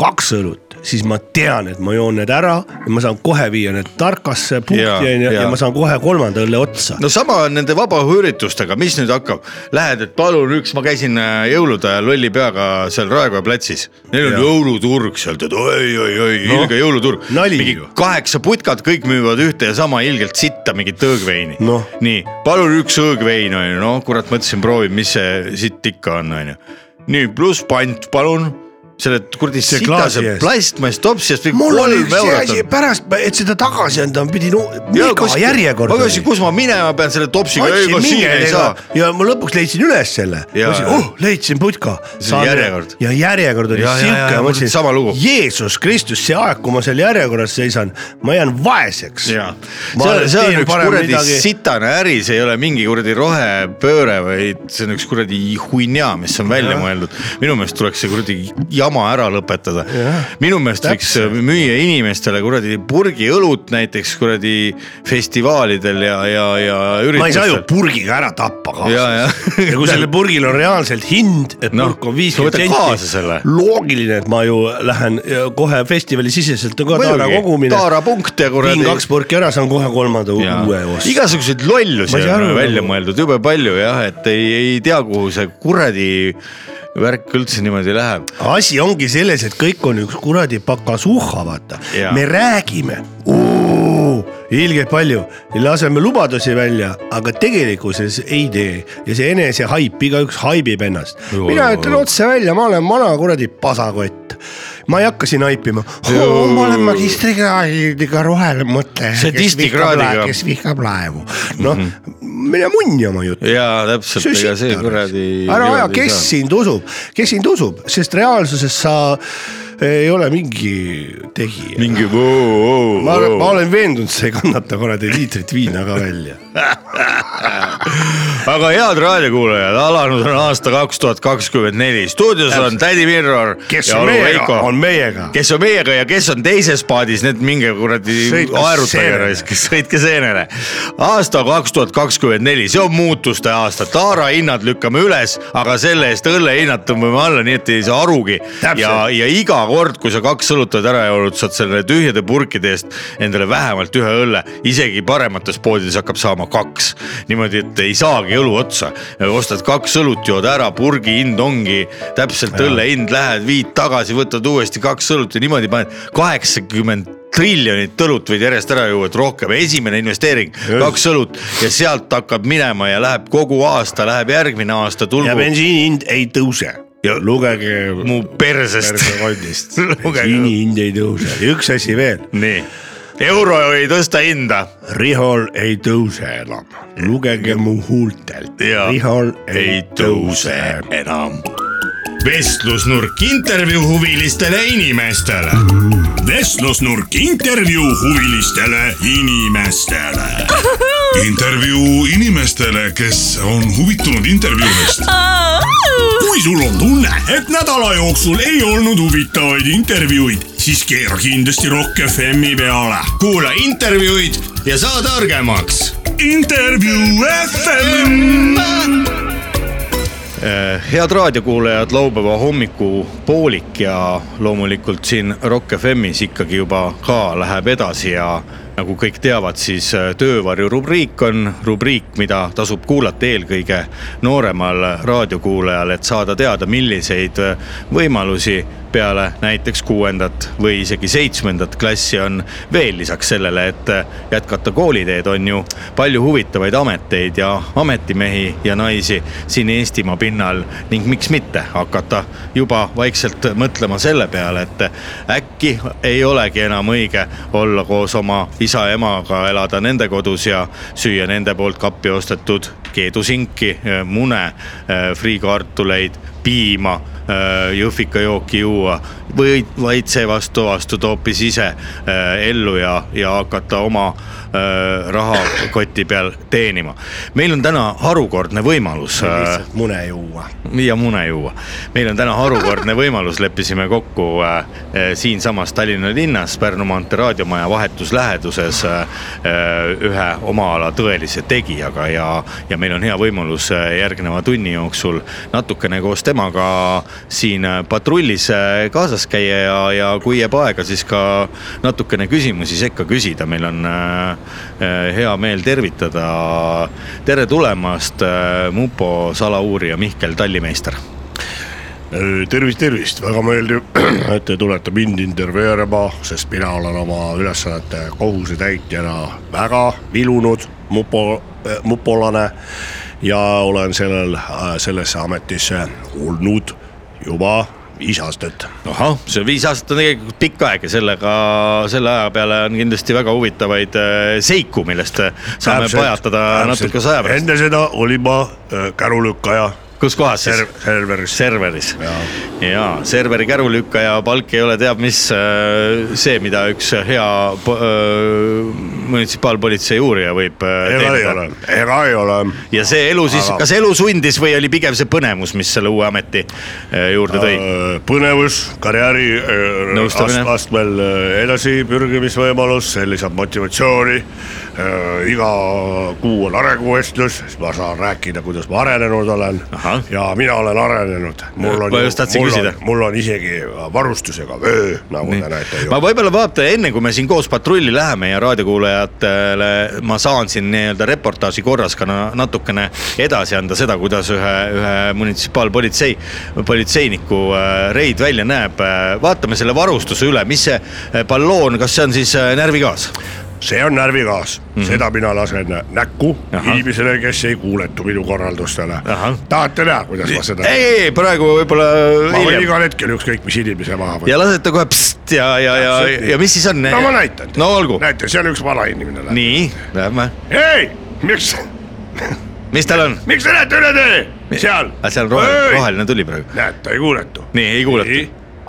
Speaker 2: kaks õlut , siis ma tean , et ma joon need ära ja ma saan kohe viia need tarkasse punkti
Speaker 1: Jaa,
Speaker 2: onju ja, ja.
Speaker 1: jaa.
Speaker 2: ja ma saan kohe kolmanda õlle otsa no. .
Speaker 1: no sama on nende vabaõhuüritustega , mis nüüd hakkab , lähed , et palun üks , ma käisin äh, jõulude ajal lolli peaga seal Raekoja platsis , neil on
Speaker 2: Jah.
Speaker 1: jõuluturg seal , tead oi-oi-oi no, ,
Speaker 2: Noh,
Speaker 1: ilge jõuluturg .
Speaker 2: nali
Speaker 1: mingi
Speaker 2: ju.
Speaker 1: kaheksa putkat , kõik müüvad ühte ja sama ilgelt sitta mingit õõgveini
Speaker 2: Noh.
Speaker 1: nii , palun üks õõgvein onju , noh kurat , mõtlesin , proovin , mis see sitt ikka on , onju . nii , pluss pant , palun selle kuradi
Speaker 2: See klaasi
Speaker 1: sitase
Speaker 2: eest.
Speaker 1: plastmass topsi eest .
Speaker 2: mul oli see asi pärast , et seda tagasi anda , ma pidin , iga järjekord
Speaker 1: ma küsisin ,
Speaker 2: oli .
Speaker 1: kus ma minema pean selle topsiga , ei
Speaker 2: andsin
Speaker 1: ma siin
Speaker 2: mingeid
Speaker 1: ei
Speaker 2: ega
Speaker 1: saa .
Speaker 2: ja ma lõpuks leidsin üles selle ,
Speaker 1: Jaa,
Speaker 2: ma ütlesin ,
Speaker 1: jaa.
Speaker 2: oh leidsin putka .
Speaker 1: See oli järjekord.
Speaker 2: ja järjekord oli
Speaker 1: Jaa, jaa, jaa,
Speaker 2: siuke , ma
Speaker 1: mul oli
Speaker 2: mõtlesin ,
Speaker 1: sama lugu.
Speaker 2: Jeesus Kristus , see aeg , kui ma seal järjekorras seisan , ma jään vaeseks .
Speaker 1: jaa , see on , see on üks kuradi midagi... sitane äri , see ei ole mingi kuradi rohepööre või see on üks kuradi huinja , mis on välja
Speaker 2: Jah.
Speaker 1: mõeldud . minu meelest tuleks see kuradi jama ära lõpetada
Speaker 2: Jah. .
Speaker 1: minu meelest võiks
Speaker 2: Täpselt.
Speaker 1: müüa inimestele kuradi purgi õlut näiteks kuradi festivalidel ja , ja , ja
Speaker 2: ma ei saa ju
Speaker 1: üritustel .
Speaker 2: purgiga ära tappa kaasa .
Speaker 1: ja , ja .
Speaker 2: ja kui sellel purgil on reaalselt hind , et
Speaker 1: Noh,
Speaker 2: no, purk
Speaker 1: sa võtad
Speaker 2: on viiskümmend
Speaker 1: kaasa
Speaker 2: senti
Speaker 1: selle. ,
Speaker 2: loogiline , et ma ju lähen ja kohe festivali siseselt on ka taara kogumine .
Speaker 1: taarapunkt ja
Speaker 2: viin
Speaker 1: kuradi .
Speaker 2: kaks purki ära , saan kohe kolmanda u-
Speaker 1: Jaa.
Speaker 2: uue ost .
Speaker 1: igasuguseid lollusi
Speaker 2: Ma ei saa
Speaker 1: on
Speaker 2: aru,
Speaker 1: välja
Speaker 2: nagu-
Speaker 1: mõeldud jube palju jah , et ei , ei tea , kuhu see kuradi värk üldse niimoodi läheb .
Speaker 2: asi ongi selles , et kõik on üks kuradi pakasuhha , vaata
Speaker 1: Jaa. .
Speaker 2: me räägime , ilgelt palju , laseme lubadusi välja , aga tegelikkuses ei tee ja see enesehaip , igaüks haibib ennast .
Speaker 1: Joo,
Speaker 2: mina
Speaker 1: joo,
Speaker 2: ütlen
Speaker 1: joo.
Speaker 2: otse välja , ma olen vana kuradi pasakott . ma ei hakka siin haipima , ma olen magistrikraadiga roheline mõtleja .
Speaker 1: Sadistikraadiga. Mhm.
Speaker 2: kes vihkab laevu , noh mm -hmm. mine munni oma juttu .
Speaker 1: jaa , täpselt , ega see
Speaker 2: Süsita,
Speaker 1: kuradi .
Speaker 2: ära aja , kes sind usub , kes sind usub , sest reaalsuses sa ei ole mingi tegija .
Speaker 1: mingi voo , voo ,
Speaker 2: ma, ma
Speaker 1: voo .
Speaker 2: olen veendunud , sa ei kannata kuradi liitrit viina ka välja .
Speaker 1: aga head raadiokuulajad , alanud on aasta kaks tuhat kakskümmend neli , stuudios on tädi Mirror .
Speaker 2: kes on meiega , on meiega .
Speaker 1: kes on meiega ja kes on teises paadis , need minge kuradi
Speaker 2: Sõitke
Speaker 1: aerutage
Speaker 2: seenele.
Speaker 1: raisk , sõitke seenele . aasta kaks tuhat kakskümmend neli , see on muutuste aasta , taara hinnad lükkame üles , aga selle eest õlle hinnad tõmbame alla , nii et ei saa arugi .
Speaker 2: Täpselt.
Speaker 1: ja , ja iga kord , kui sa kaks õlut oled ära joonud , saad selle tühjade purkide eest endale vähemalt ühe õlle , isegi paremates poodides hakkab saama kaks . niimoodi , et ei saagi õlu otsa , ostad kaks õlut , jood ära , purgi hind ongi täpselt õlle hind , lähed viid tagasi , võtad uuesti kaks õlut ja niimoodi paned kaheksakümmend triljonit õlut võid järjest ära juua , et rohkem , esimene investeering , kaks õlut ja sealt hakkab minema ja läheb kogu aasta , läheb järgmine aasta ,
Speaker 2: ja
Speaker 1: tulgu
Speaker 2: bensiini hind ei tõuse . lugege
Speaker 1: mu persest .
Speaker 2: persekondist
Speaker 1: Lugege-
Speaker 2: bensiini hind ei tõuse ja üks asi veel ,
Speaker 1: nii , euro ei tõsta hinda .
Speaker 2: Rihol ei tõuse enam , lugege mu huultelt ,
Speaker 1: Jaa.
Speaker 2: Rihol ei tõuse
Speaker 1: enam . vestlusnurk intervjuu huvilistele inimestele .
Speaker 3: vestlusnurk intervjuu huvilistele inimestele .
Speaker 4: intervjuu inimestele , kes on huvitunud intervjuudest .
Speaker 3: kui sul on tunne , et nädala jooksul ei olnud huvitavaid intervjuuid , siis siis keera kindlasti Rock FM-i peale .
Speaker 1: kuula intervjuud ja saa targemaks .
Speaker 3: intervjuu FM .
Speaker 1: Eh, head raadiokuulajad , laupäeva hommikupoolik ja loomulikult siin Rock FM-is ikkagi juba ka läheb edasi ja nagu kõik teavad , siis äh, töövarju rubriik on rubriik , mida tasub kuulata eelkõige nooremal raadiokuulajal , et saada teada , milliseid äh, võimalusi peale näiteks kuuendat või isegi seitsmendat klassi on veel lisaks sellele , et jätkata kooliteed , on ju palju huvitavaid ameteid ja ametimehi ja naisi siin Eestimaa pinnal ning miks mitte hakata juba vaikselt mõtlema selle peale , et äkki ei olegi enam õige olla koos oma isa-emaga , elada nende kodus ja süüa nende poolt kappi ostetud keedusinki , mune , friikartuleid , piima , jõhvikajooki Äh, juua või vaid seevastu astud hoopis ise äh, ellu ja , ja hakata oma äh, rahakoti peal teenima . meil on täna harukordne võimalus äh,
Speaker 2: lihtsalt mune juua .
Speaker 1: ja mune juua . meil on täna harukordne võimalus , leppisime kokku äh, äh, siinsamas Tallinna linnas Pärnu maantee raadiomaja vahetus läheduses äh, äh, ühe oma ala tõelise tegijaga ja , ja meil on hea võimalus äh, järgneva tunni jooksul natukene koos temaga siin äh, patrullis äh, kaasas käia ja , ja kui jääb aega , siis ka natukene küsimusi sekka küsida , meil on äh, äh, hea meel tervitada . tere tulemast äh, mupo salauurija Mihkel Tallimeister .
Speaker 2: tervist , tervist , väga meeldiv , et te tulete mind intervjueerima , sest mina olen oma ülesannete kohusetäitjana väga vilunud mupo , mupolane . ja olen sellel , sellesse ametisse olnud juba viis aastat
Speaker 1: ahah , see viis aastat on tegelikult pikk aeg ja sellega , selle aja peale on kindlasti väga huvitavaid äh, seiku , millest äh, saame täpselt, pajatada täpselt. natukese aja pärast .
Speaker 2: enne seda olin ma äh, kärulükkaja
Speaker 1: kus kohas siis
Speaker 2: ser ? serveris .
Speaker 1: serveris
Speaker 2: Jaa.
Speaker 1: ja serveri kärulükkaja palk ei ole teab mis äh, see , mida üks hea po- äh, munitsipaalpolitsei uurija võib äh,
Speaker 2: ega ei ole
Speaker 1: teenida .,
Speaker 2: ega ei ole .
Speaker 1: ja see elu siis ,
Speaker 2: Aga-
Speaker 1: kas elu sundis või oli pigem see põnevus , mis selle uue ameti äh, juurde tõi ?
Speaker 2: põnevus , karjääri äh,
Speaker 1: Nõustamine.
Speaker 2: ast- astmel äh, edasi pürgimisvõimalus , see lisab motivatsiooni . iga kuu on arenguvestlus , siis ma saan rääkida , kuidas ma arenenud olen
Speaker 1: Ahah. .
Speaker 2: ja mina olen arenenud .
Speaker 1: Ma just tahtsin küsida.
Speaker 2: mul on isegi äh, varustusega vöö , nagu te näete
Speaker 1: ma
Speaker 2: ju .
Speaker 1: võib-olla vaata , enne kui me siin koos patrulli läheme ja raadiokuulajatele ma saan siin nii-öelda reportaaži korras ka na- natukene edasi anda seda , kuidas ühe , ühe munitsipaalpolitsei , politseiniku äh, reid välja näeb . vaatame selle varustuse üle , mis see äh, balloon , kas see on siis äh, närvigaas ?
Speaker 2: see on närvigaas mm , -hmm. seda mina lasen näkku
Speaker 1: Mhm. Ahah.
Speaker 2: inimesele , kes ei kuuletu minu korraldustele
Speaker 1: Ahah. .
Speaker 2: tahate näha , kuidas ma seda
Speaker 1: ei ,? ei , ei praegu võib-olla
Speaker 2: ma võin
Speaker 1: hiljem
Speaker 2: igal hetkel ükskõik mis inimese maha võtta .
Speaker 1: ja lasete kohe psst ja , ja , ja , ja mis siis on ?
Speaker 2: no ma näitan teile
Speaker 1: no olgu ,
Speaker 2: näete , see on üks vana inimene .
Speaker 1: nii , lähme ,
Speaker 2: ei , miks ,
Speaker 1: mis tal on ?
Speaker 2: miks te lähete üle tee , seal .
Speaker 1: Ah, seal on roheline , roheline tuli praegu .
Speaker 2: näed , ta ei kuuletu .
Speaker 1: nii , ei kuulata .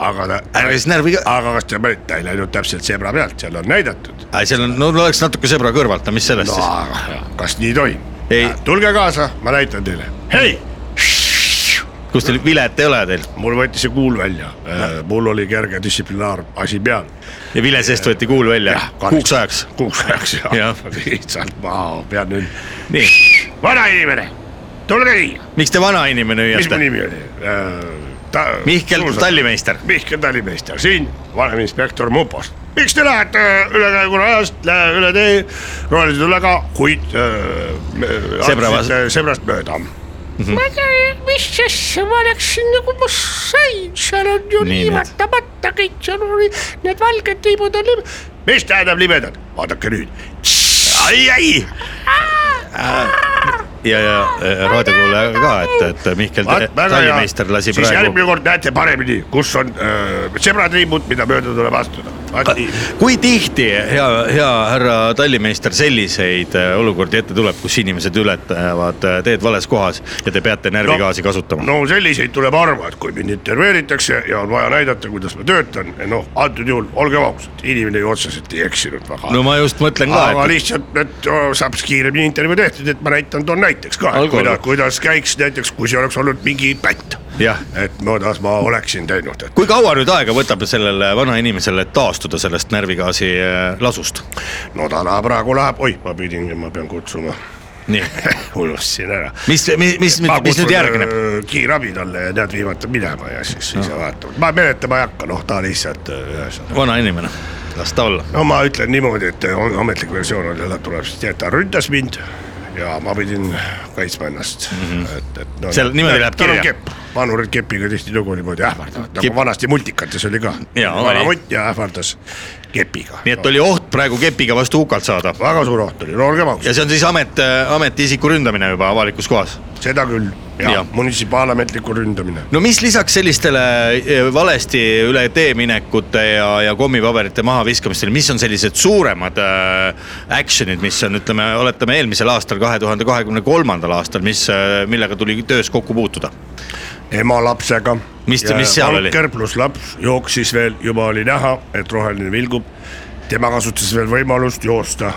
Speaker 2: aga ta ,
Speaker 1: ärge siis närviga ,
Speaker 2: aga kas te panite , ta ei läinud täpselt zebra pealt , seal on näidatud .
Speaker 1: seal on , no oleks natuke sõbra kõrvalt , aga mis sellest
Speaker 2: no
Speaker 1: no.
Speaker 2: aga kas nii tohib
Speaker 1: Ei. ?
Speaker 2: tulge kaasa , ma näitan teile . hei ,
Speaker 1: siis , kus teil vilet ei ole teil
Speaker 2: mul võttis see kuul välja , mul oli kerge distsiplinaarasi peal .
Speaker 1: ja vile seest võeti kuul välja
Speaker 2: Jah, kahjuks.
Speaker 1: kuuks ajaks .
Speaker 2: kuuks ajaks ja
Speaker 1: Jah.
Speaker 2: lihtsalt ma pean nüüd ,
Speaker 1: nii ,
Speaker 2: vana inimene , tulge siia .
Speaker 1: miks te vana inimene
Speaker 2: mis mu
Speaker 1: hüüate ?
Speaker 2: nimi oli ? Ta...
Speaker 1: Mihkel
Speaker 2: suusad-
Speaker 1: Tallimeister ,
Speaker 2: Mihkel Tallimeister siin , valeinspektor Mupost . miks te lähete äh, ülekäigurajast lä- üle tee rohelise tulega , kuid äh,
Speaker 1: Sebra vas-
Speaker 2: aksite sebrast mööda ?
Speaker 5: ma ei tea , mis asja , ma läksin nagu ma sain , seal on ju
Speaker 1: Nii,
Speaker 5: liivatamata kõik , seal oli need valged liibud on liib- .
Speaker 2: mis tähendab libedad ? vaadake nüüd ,
Speaker 1: ai , ai . ja , ja äh, raadiokuulaja ka , et , et Mihkel
Speaker 2: vaat
Speaker 1: Te- Tallimeister lasi
Speaker 2: siis
Speaker 1: praegu .
Speaker 2: järgmine kord näete paremini , kus on äh, sebrad liibud , mida mööda tuleb astuda . vaat nii ,
Speaker 1: kui tihti hea , hea härra Tallimeister selliseid äh, olukordi ette tuleb , kus inimesed ületavad äh, teed vales kohas ja te peate närvigaasi kasutama ?
Speaker 2: no selliseid tuleb harva , et kui mind intervjueeritakse ja on vaja näidata , kuidas ma töötan , noh , antud juhul olgem ausad , inimene ju otseselt ei eksinud väga
Speaker 1: no ma just mõtlen ka ,
Speaker 2: aga
Speaker 1: et .
Speaker 2: lihtsalt , et öö, saab siis kiiremini intervjuu tehtud , et ma näitan , toon näiteks ka ,
Speaker 1: Olgu,
Speaker 2: kuidas ,
Speaker 1: olgu.
Speaker 2: kuidas käiks näiteks , kui see oleks olnud mingi pätt .
Speaker 1: Jah.
Speaker 2: et kuidas ma oleksin teinud , et
Speaker 1: kui kaua nüüd aega võtab sellele vanainimesele taastuda sellest närvigaasi äh, lasust ?
Speaker 2: no täna praegu läheb , oih , ma pidin , ma pean kutsuma ,
Speaker 1: nii ,
Speaker 2: unustasin ära .
Speaker 1: mis , mis , mis , mis nüüd järgneb ??
Speaker 2: äh, kiirabi talle ja tead , viimati minema ja siis ise vaatame , ma menetlema ei hakka , noh ta lihtsalt öö, ühesõnaga .
Speaker 1: vanainimene , las ta olla .
Speaker 2: no ma ütlen niimoodi , et on- ametlik versioon on , ta tuleb siis teada , ründas mind ja ma pidin kaitsma ennast mm , -hmm. et , et no, .
Speaker 1: Mhm. Seal niimoodi läheb kirja.
Speaker 2: kepp , vanurid kepiga tihtilugu niimoodi ähvardavad , nagu
Speaker 1: Kep-
Speaker 2: Kep... vanasti multikates oli ka .
Speaker 1: Jaa, oli.
Speaker 2: vanamutja ähvardas kepiga .
Speaker 1: nii et oli oht praegu kepiga vastu hukalt saada
Speaker 2: väga suur oht oli , no olgem
Speaker 1: ja
Speaker 2: ausad ,
Speaker 1: see on siis amet , ametiisiku ründamine juba avalikus kohas .
Speaker 2: seda küll
Speaker 1: Jaa.
Speaker 2: ja munitsipaalametliku ründamine .
Speaker 1: no mis lisaks sellistele eh, valesti üle tee minekute ja , ja kommipaberite mahaviskamistele , mis on sellised suuremad äh, action'id , mis on , ütleme , oletame eelmisel aastal , kahe tuhande kahekümne kolmandal aastal , mis , millega tuli töös kokku puutuda ?
Speaker 2: ema lapsega .
Speaker 1: Mis- mis seal oli?
Speaker 2: vanker pluss laps jooksis veel , juba oli näha , et roheline vilgub . tema kasutas veel võimalust joosta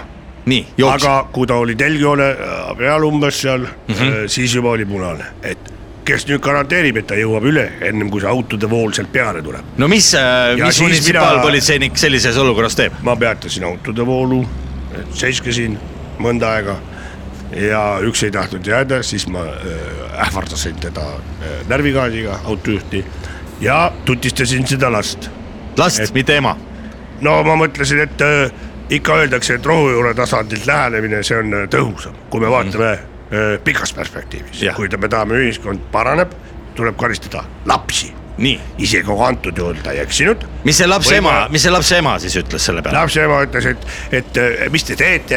Speaker 1: nii , jooks Aga... .
Speaker 2: aga kui ta oli telgjoone äh, peal umbes seal mm , -hmm. siis juba oli punane , et kes nüüd garanteerib , et ta jõuab üle , ennem kui see autode vool sealt peale tuleb .
Speaker 1: no mis ,
Speaker 2: Ja
Speaker 1: mis
Speaker 2: siis
Speaker 1: munitsipaalpolitseinik mina... sellises olukorras teeb ?
Speaker 2: ma peatasin autode voolu , seiskasin mõnda aega ja üks ei tahtnud jääda , siis ma äh, ähvardasin teda äh, närvigaasiga , autojuhti ja tutistasin seda last .
Speaker 1: last et... , mitte ema .
Speaker 2: no ma mõtlesin , et äh, ikka öeldakse , et rohujuure tasandilt lähenemine , see on äh, tõhusam , kui me vaatame äh, pikas perspektiivis
Speaker 1: Mhm. Jah. ,
Speaker 2: kui ta- me tahame , ühiskond paraneb , tuleb karistada lapsi ,
Speaker 1: nii ,
Speaker 2: isegi kui antud juhul ta ei eksinud .
Speaker 1: mis see lapse ema
Speaker 2: Võib-olla- ,
Speaker 1: mis see lapse ema siis ütles selle peale ?
Speaker 2: lapseema ütles , et , et äh, mis te teete ,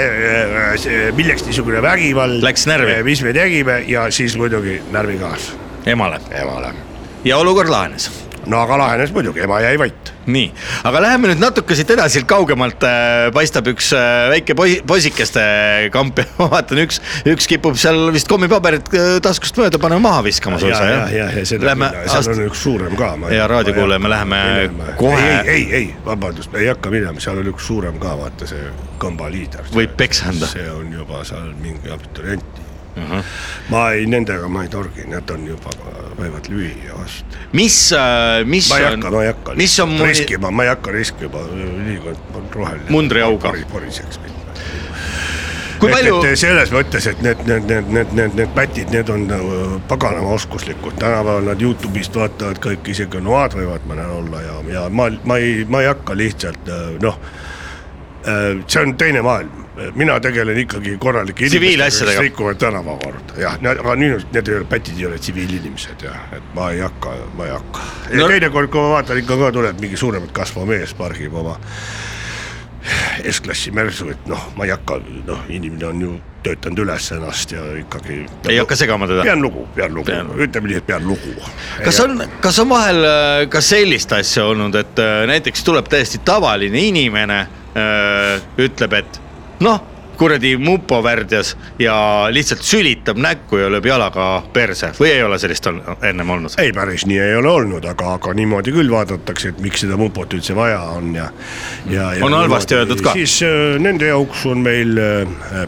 Speaker 2: milleks niisugune vägivald .
Speaker 1: Läks närvi.
Speaker 2: mis me tegime ja siis muidugi närvigaas
Speaker 1: emale
Speaker 2: emale .
Speaker 1: ja olukord lahenes
Speaker 2: no aga lahenes muidugi , ema jäi vait .
Speaker 1: nii , aga läheme nüüd natuke siit edasi , kaugemalt äh, paistab üks äh, väike poi- poisikeste kamp ja ma vaatan , üks , üks kipub seal vist kommipaberit äh, taskust mööda panema maha viskama
Speaker 2: ja ,
Speaker 1: suisa
Speaker 2: ja ,
Speaker 1: jah
Speaker 2: ja , ja seda
Speaker 1: Lähme
Speaker 2: küll, ja seal
Speaker 1: aast-
Speaker 2: on , üks suurem ka .
Speaker 1: Hea raadiokuulaja, me läheme kohe-
Speaker 2: ei , ei , ei, ei , vabandust , ei hakka minema , seal on üks suurem ka , vaata see kamba liider .
Speaker 1: Võib peksa anda.
Speaker 2: see on juba seal mingi abiturient uh .
Speaker 1: Mhm.
Speaker 2: -huh. ma ei , nendega ma ei torgi , nad on juba , võivad lüüa vastu .
Speaker 1: mis , mis
Speaker 2: ma ei
Speaker 1: on
Speaker 2: hakka , ma ei hakka .
Speaker 1: mis on muni-
Speaker 2: riskima , ma ei hakka riskima , ülikond on roheline .
Speaker 1: Mundriauga.
Speaker 2: poriseks mind
Speaker 1: kui
Speaker 2: et,
Speaker 1: palju ,
Speaker 2: et selles mõttes , et need , need , need , need , need , need pätid , need on nagu paganama oskuslikud , tänapäeval nad Youtube'ist vaatavad kõik , isegi noad võivad mõnel olla ja , ja ma , ma ei , ma ei hakka lihtsalt äh, noh . see on teine maailm , mina tegelen ikkagi korralike
Speaker 1: Tsiviilasjadega.
Speaker 2: kes rikuvad tänavakorda , jah , aga nüüd need ei ole pätid , ei ole tsiviilinimesed ja , et ma ei hakka , ma ei hakka . ja
Speaker 1: No-
Speaker 2: no. teinekord , kui ma vaatan ikka ka tuleb mingi suuremat kasvav mees , pargib oma S-klassi mersu , et noh , ma ei hakka , noh , inimene on ju töötanud üles ennast ja ikkagi .
Speaker 1: ei hakka segama teda ?
Speaker 2: pean lugu , pean lugu
Speaker 1: Pean- ,
Speaker 2: ütleme nii , et pean lugu .
Speaker 1: kas on , kas on vahel äh, ka sellist asja olnud , et äh, näiteks tuleb täiesti tavaline inimene , ütleb , et noh , kuradi mupo värdjas ja lihtsalt sülitab näkku ja lööb jalaga perse või ei ole sellist on, ennem olnud ?
Speaker 2: ei , päris nii ei ole olnud , aga , aga niimoodi küll vaadatakse , et miks seda mupot üldse vaja on ja , ja .
Speaker 1: On halvasti öeldud ka.
Speaker 2: siis öö, nende jaoks on meil öö,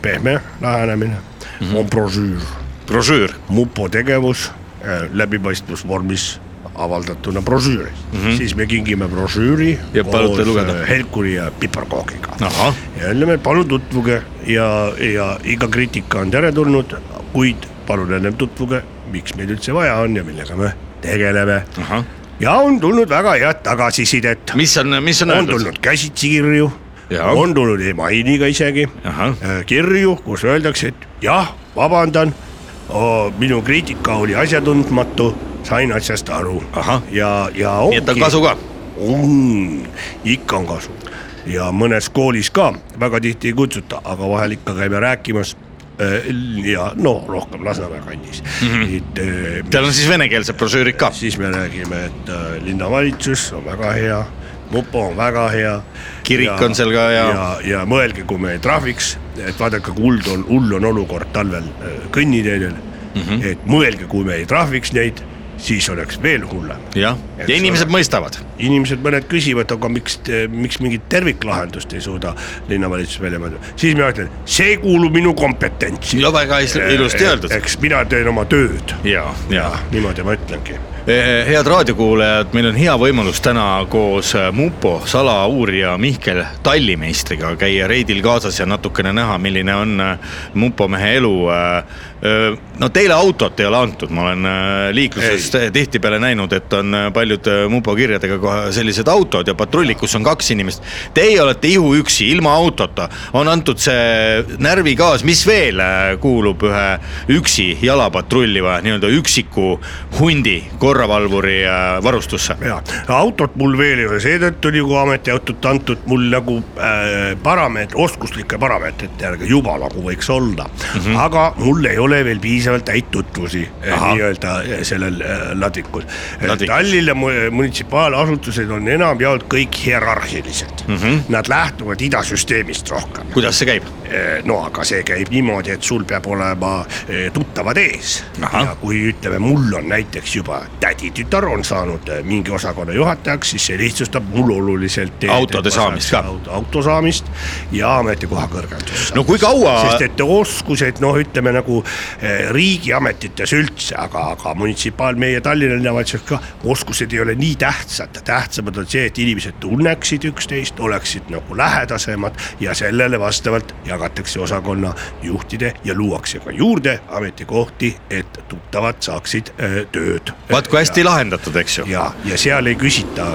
Speaker 2: pehme lähenemine mm ,
Speaker 1: Mhm.
Speaker 2: -hmm. on brošüür ,
Speaker 1: brošüür ,
Speaker 2: mupo tegevus öö, läbipaistvusvormis avaldatuna brošüüris mm , -hmm. siis me kingime brošüüri .
Speaker 1: Mhm. Ja palute lugeda.
Speaker 2: Helkuri ja piparkoogiga
Speaker 1: ahah ,
Speaker 2: ja ütleme , palun tutvuge ja , ja iga kriitika on teretulnud , kuid palun ennem tutvuge , miks meid üldse vaja on ja millega me tegeleme .
Speaker 1: ahah ,
Speaker 2: ja on tulnud väga head tagasisidet ,
Speaker 1: mis on , mis on
Speaker 2: on
Speaker 1: öeldud ?
Speaker 2: tulnud käsitsi kirju ,
Speaker 1: Jaa.
Speaker 2: on tulnud emailiga isegi
Speaker 1: Ahah.
Speaker 2: äh, kirju , kus öeldakse , et jah , vabandan , minu kriitika oli asjatundmatu , sain asjast aru
Speaker 1: Ahah.
Speaker 2: ja , ja
Speaker 1: nii et on kasu ka ,
Speaker 2: on , ikka on kasu ja mõnes koolis ka väga tihti ei kutsuta , aga vahel ikka käime rääkimas . ja no rohkem Lasnamäe kandis mm , -hmm.
Speaker 1: Mhm. seal on siis venekeelsed brošüürid ka .
Speaker 2: siis me räägime , et äh, linnavalitsus on väga hea , mupo on väga hea .
Speaker 1: Kirik on seal ka hea.
Speaker 2: ja , ja mõelge , kui me ei trahviks , et vaadake , kui hull
Speaker 1: Mhm.
Speaker 2: on , hull on olukord talvel äh, kõnniteedel mm . -hmm. et mõelge , kui me ei trahviks neid , siis oleks veel hullem .
Speaker 1: jah , ja inimesed mõistavad .
Speaker 2: inimesed mõned küsivad , aga miks , miks mingit terviklahendust ei suuda linnavalitsus välja mõelda , siis mina ütlen , see ei kuulu minu kompetentsi .
Speaker 1: no väga is- ilusti öeldud .
Speaker 2: eks mina teen oma tööd ,
Speaker 1: ja , ja
Speaker 2: niimoodi ma ütlengi .
Speaker 1: Eh, head raadiokuulajad , meil on hea võimalus täna koos eh, mupo salauurija Mihkel Tallimeistriga käia reidil kaasas ja natukene näha , milline on eh, mupo mehe elu . no teile autot ei ole antud , ma olen eh, liikluses te- tihtipeale näinud , et on eh, paljud eh, mupo kirjadega kohe sellised autod ja patrullid , kus on kaks inimest . Teie olete ihuüksi , ilma autota , on antud see närvigaas , mis veel eh, kuulub ühe üksi jala patrulliva nii-öelda üksiku hundi korravalvuri eh, varustusse .
Speaker 2: ja autot mul veel ei ole , seetõttu oli kogu ametiautot antud mul nagu äh, parameet , oskuslikke parameetrite järgi juba nagu võiks olla mm . -hmm. aga mul ei ole veel piisavalt häid tutvusi eh,
Speaker 1: Ahah.
Speaker 2: nii-öelda eh, sellel äh, ladvikul,
Speaker 1: Ladvikus.
Speaker 2: ladvikul. . Tallinna mu- äh, munitsipaalasutused on enamjaolt kõik hierarhilised mm , -hmm. nad lähtuvad idasüsteemist rohkem .
Speaker 1: kuidas see käib ?
Speaker 2: Eh, no aga see käib niimoodi , et sul peab olema eh, tuttavad ees .
Speaker 1: Ahah.
Speaker 2: ja kui ütleme , mul on näiteks juba täditütar on saanud eh, mingi osakonna juhatajaks , siis see lihtsustab mul oluliselt .
Speaker 1: Autode saamist ka.
Speaker 2: auto, . auto saamist ja ametikoha kõrgendust .
Speaker 1: no kui kaua
Speaker 2: sest , et oskused noh , ütleme nagu eh, riigiametites üldse , aga , aga munitsipaal , meie Tallinna linnavalitsus ka , oskused ei ole nii tähtsad , tähtsamad on see , et inimesed tunneksid üksteist , oleksid nagu lähedasemad ja sellele vastavalt jagatakse osakonna juhtide ja luuakse ka juurde ametikohti , et tuttavad saaksid eh, tööd .
Speaker 1: vaat kui hästi lahendatud , eks ju .
Speaker 2: ja , ja seal ei küsita ,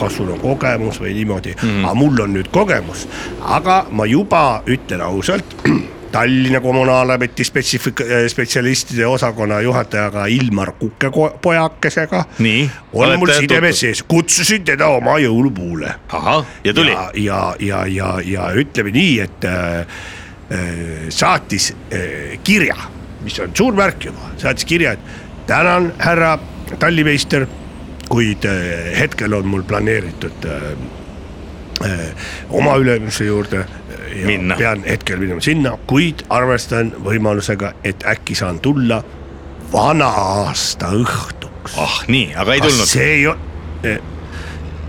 Speaker 2: kas sul on kogemus või niimoodi
Speaker 1: Mhm.
Speaker 2: mm. , aga mul on nüüd kogemus , aga ma juba ütlen ausalt . Tallinna kommunaalameti spetsifik- , eh, spetsialistide osakonna juhatajaga Ilmar Kukepojakesega .
Speaker 1: Nii,
Speaker 2: on mul
Speaker 1: olete
Speaker 2: sidemed
Speaker 1: tutvunud?
Speaker 2: sees , kutsusin teda oma jõulupuule
Speaker 1: ahah , ja tuli
Speaker 2: ja , ja , ja , ja , ja ütleme nii , et äh, äh, saatis äh, kirja , mis on suur märk juba , saatis kirja , et tänan , härra tallimeister , kuid äh, hetkel on mul planeeritud äh, äh, oma ülemuse juurde .
Speaker 1: Minna.
Speaker 2: pean hetkel minema sinna , kuid arvestan võimalusega , et äkki saan tulla vana-aasta õhtuks .
Speaker 1: ah nii , aga ei
Speaker 2: kas
Speaker 1: tulnud ,
Speaker 2: see ei ole ,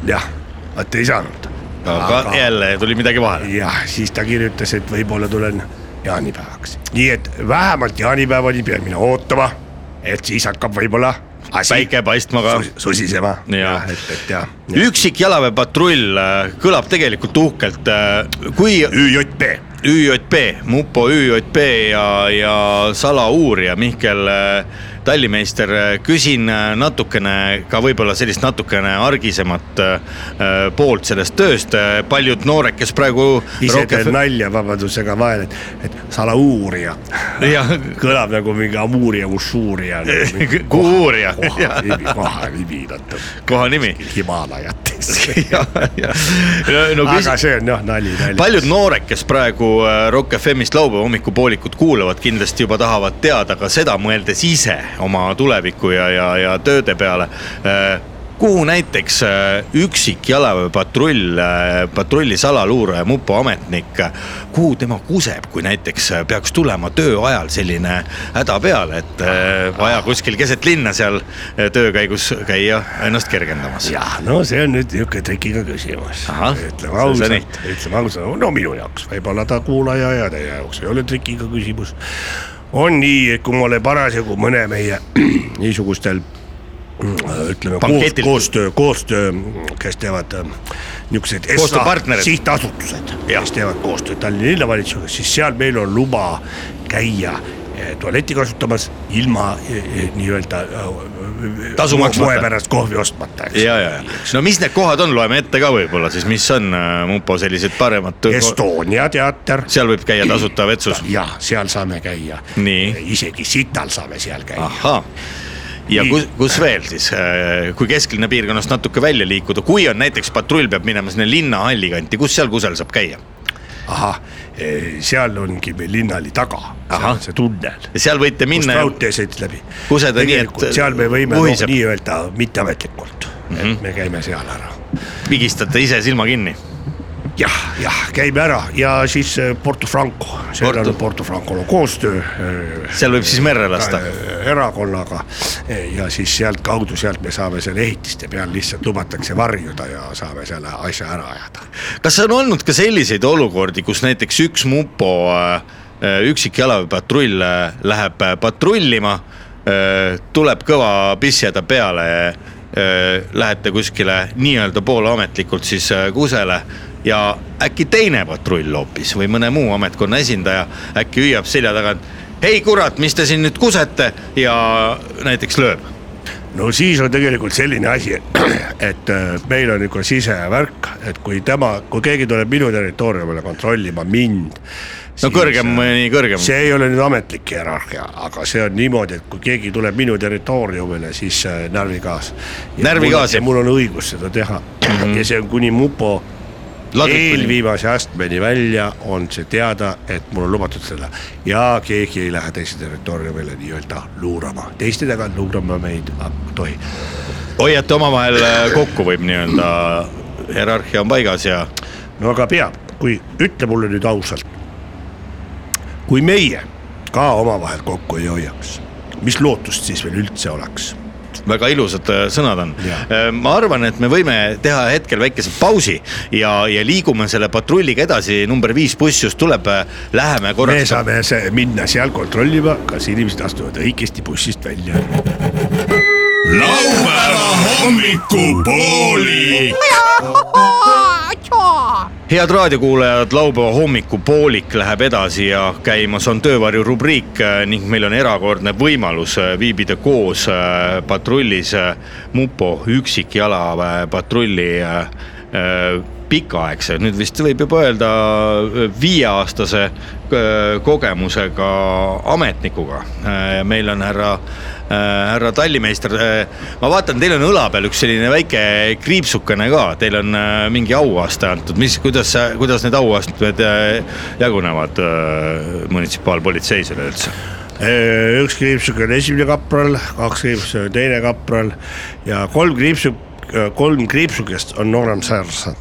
Speaker 2: jah , vaat ei saanud .
Speaker 1: aga jälle tuli midagi vahele .
Speaker 2: jah , siis ta kirjutas , et võib-olla tulen jaanipäevaks , nii et vähemalt jaanipäevani pean mina ootama , et siis hakkab võib-olla asi
Speaker 1: päike paistma ka
Speaker 2: sus- susisema .
Speaker 1: Jaa.
Speaker 2: et , et jah ,
Speaker 1: üksik jalaväepatrull äh, kõlab tegelikult uhkelt , kui
Speaker 2: ÜJP ,
Speaker 1: ÜJP , mupo ÜJP ja , ja salauurija Mihkel äh, Tallimeister , küsin äh, natukene ka võib-olla sellist natukene argisemat äh, äh, poolt sellest tööst , paljud noored , kes praegu .
Speaker 2: ise teen nalja vabadusega vahel , et , et salauurija
Speaker 1: jah ,
Speaker 2: kõlab nagu mingi amuuria , usuuria .
Speaker 1: Kuuuria. Jah.
Speaker 2: kohanimi , kohanimi natuke ,
Speaker 1: kohanimi .
Speaker 2: Himaalajates .
Speaker 1: ja , ja no
Speaker 2: aga
Speaker 1: küsin ,
Speaker 2: see on jah nali , nali .
Speaker 1: paljud noored , kes praegu äh, Rock FM-ist laupäeva hommikupoolikut kuulavad , kindlasti juba tahavad teada ka seda , mõeldes ise oma tuleviku ja , ja , ja tööde peale . kuhu näiteks äh, üksik äh, jalaväepatrull , patrulli salaluuraja mupoametnik , äh, kuhu tema kuseb , kui näiteks äh, peaks tulema töö ajal selline häda peale , et äh, vaja kuskil keset linna seal äh, töö käigus käia ennast kergendamas ?
Speaker 2: jah , no see on nüüd niisugune trikiga küsimus
Speaker 1: Ahah, .
Speaker 2: ütleme
Speaker 1: see on see
Speaker 2: ausalt
Speaker 1: nii. ,
Speaker 2: ütleme ausalt , no minu jaoks , võib-olla ta kuulaja ja teie jaoks ei ole trikiga küsimus . on nii , et kui ma olen parasjagu mõne meie niisugustel mm, ütleme koos,
Speaker 1: Banketil.
Speaker 2: koostöö , koostöö , kes teevad ähm, niisuguseid
Speaker 1: Koostööpartnerid.
Speaker 2: sihtasutused ,
Speaker 1: Jah.
Speaker 2: kes teevad koostööd Tallinna linnavalitsusega , siis seal meil on luba käia eh, tualetti kasutamas ilma eh, eh, nii-öelda eh,
Speaker 1: Tasu maksmata.
Speaker 2: moe pärast kohvi ostmata , eks
Speaker 1: ja , ja , ja no mis need kohad on , loeme ette ka võib-olla siis , mis on äh, mupo sellised paremad .
Speaker 2: Estonia teater
Speaker 1: seal võib käia tasuta vetsus .
Speaker 2: ja seal saame käia .
Speaker 1: Nii. Ah.
Speaker 2: isegi sital saame seal käia .
Speaker 1: ahhaa , ja
Speaker 2: Nii.
Speaker 1: kus , kus veel siis , kui kesklinna piirkonnast natuke välja liikuda , kui on näiteks patrull peab minema sinna linnahalli kanti , kus seal kusagil saab käia ?
Speaker 2: ahah , seal ongi meil linnali taga , seal
Speaker 1: Ahah.
Speaker 2: on see tunnel
Speaker 1: ja seal võite
Speaker 2: kust
Speaker 1: minna ja
Speaker 2: raudtee sõit läbi .
Speaker 1: Kuseda nii, et
Speaker 2: seal me võime noh,
Speaker 1: vuhiseb.
Speaker 2: nii-öelda mitteametlikult mm ,
Speaker 1: Mhm.
Speaker 2: -hmm. et me käime seal ära
Speaker 1: pigistate ise silma kinni .
Speaker 2: jah , jah , käime ära ja siis eh, Porto Franco , seal
Speaker 1: Porto-
Speaker 2: on Porto Francol on koostöö . e,
Speaker 1: seal võib siis merre lasta .
Speaker 2: Äh, erakonnaga . ja siis sealtkaudu , sealt me saame selle ehitiste peal lihtsalt lubatakse varjuda ja saame selle asja ära ajada .
Speaker 1: kas on olnud ka selliseid olukordi , kus näiteks üks mupo , üksik jalaväepatrull äh, läheb äh, patrullima , tuleb kõva pissjada peale , lähete kuskile nii-öelda poolametlikult siis äh, kusele ja äkki teine patrull hoopis või mõne muu ametkonna esindaja äkki hüüab selja tagant , hei kurat , mis te siin nüüd kusete ja näiteks lööb
Speaker 2: no siis on tegelikult selline asi , et , et äh, meil on niisugune sisevärk , et kui tema , kui keegi tuleb minu territooriumile kontrollima mind .
Speaker 1: no kõrgem , nii kõrgem .
Speaker 2: äh, see ei ole nüüd ametlik hierarhia , aga see on niimoodi , et kui keegi tuleb minu territooriumile , siis äh, närvigaas .
Speaker 1: Närvigaas, jah.
Speaker 2: mul on õigus seda teha mm
Speaker 1: Mhm.
Speaker 2: -hmm. ja see on kuni mupo eelviimase astmeni välja on see teada , et mul on lubatud seda ja keegi ei lähe teise territooriumile nii-öelda luurama , teiste taga luurama me ei tohi .
Speaker 1: hoiate omavahel äh, kokku , võib nii-öelda , hierarhia on paigas ja
Speaker 2: no aga peab , kui ütle mulle nüüd ausalt . kui meie ka omavahel kokku ei hoiaks , mis lootust siis veel üldse oleks ?
Speaker 1: väga ilusad äh, sõnad on
Speaker 2: Jaa. .
Speaker 1: ma arvan , et me võime teha hetkel väikese pausi ja , ja liigume selle patrulliga edasi , number viis buss just tuleb , läheme
Speaker 2: me
Speaker 1: korraks .
Speaker 2: saame se- minna seal kontrollima , kas inimesed astuvad õigesti bussist välja .
Speaker 4: laupäeva hommikupooli .
Speaker 1: head raadiokuulajad , laupäeva hommikupoolik läheb edasi ja käimas on töövarju rubriik äh, ning meil on erakordne võimalus äh, viibida koos äh, patrullis äh, mupo üksikjalaväepatrulli äh, äh, pikaaegse , nüüd vist võib juba öelda äh, viieaastase äh, kogemusega ametnikuga . meil on härra , Äh, härra tallimeister , ma vaatan , teil on õla peal üks selline väike kriipsukene ka , teil on äh, mingi auaste antud , mis , kuidas , kuidas need auastmed äh, jagunevad äh, munitsipaalpolitseis üleüldse ?
Speaker 2: üks kriipsuk on esimene kapral , kaks kriipsu on teine kapral ja kolm kriipsu , kolm kriipsukest on noorem seersant .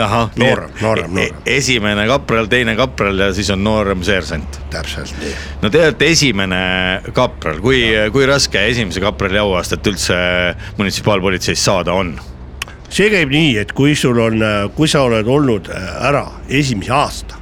Speaker 1: ahah ,
Speaker 2: Noorem, noorem, noorem.
Speaker 1: e- esimene kapral , teine kapral ja siis on noorem seersant .
Speaker 2: täpselt nii .
Speaker 1: no te olete esimene kapral , kui , kui raske esimese kaprali auastet üldse munitsipaalpolitseis saada on ?
Speaker 2: see käib nii , et kui sul on , kui sa oled olnud äh, ära esimese aasta ,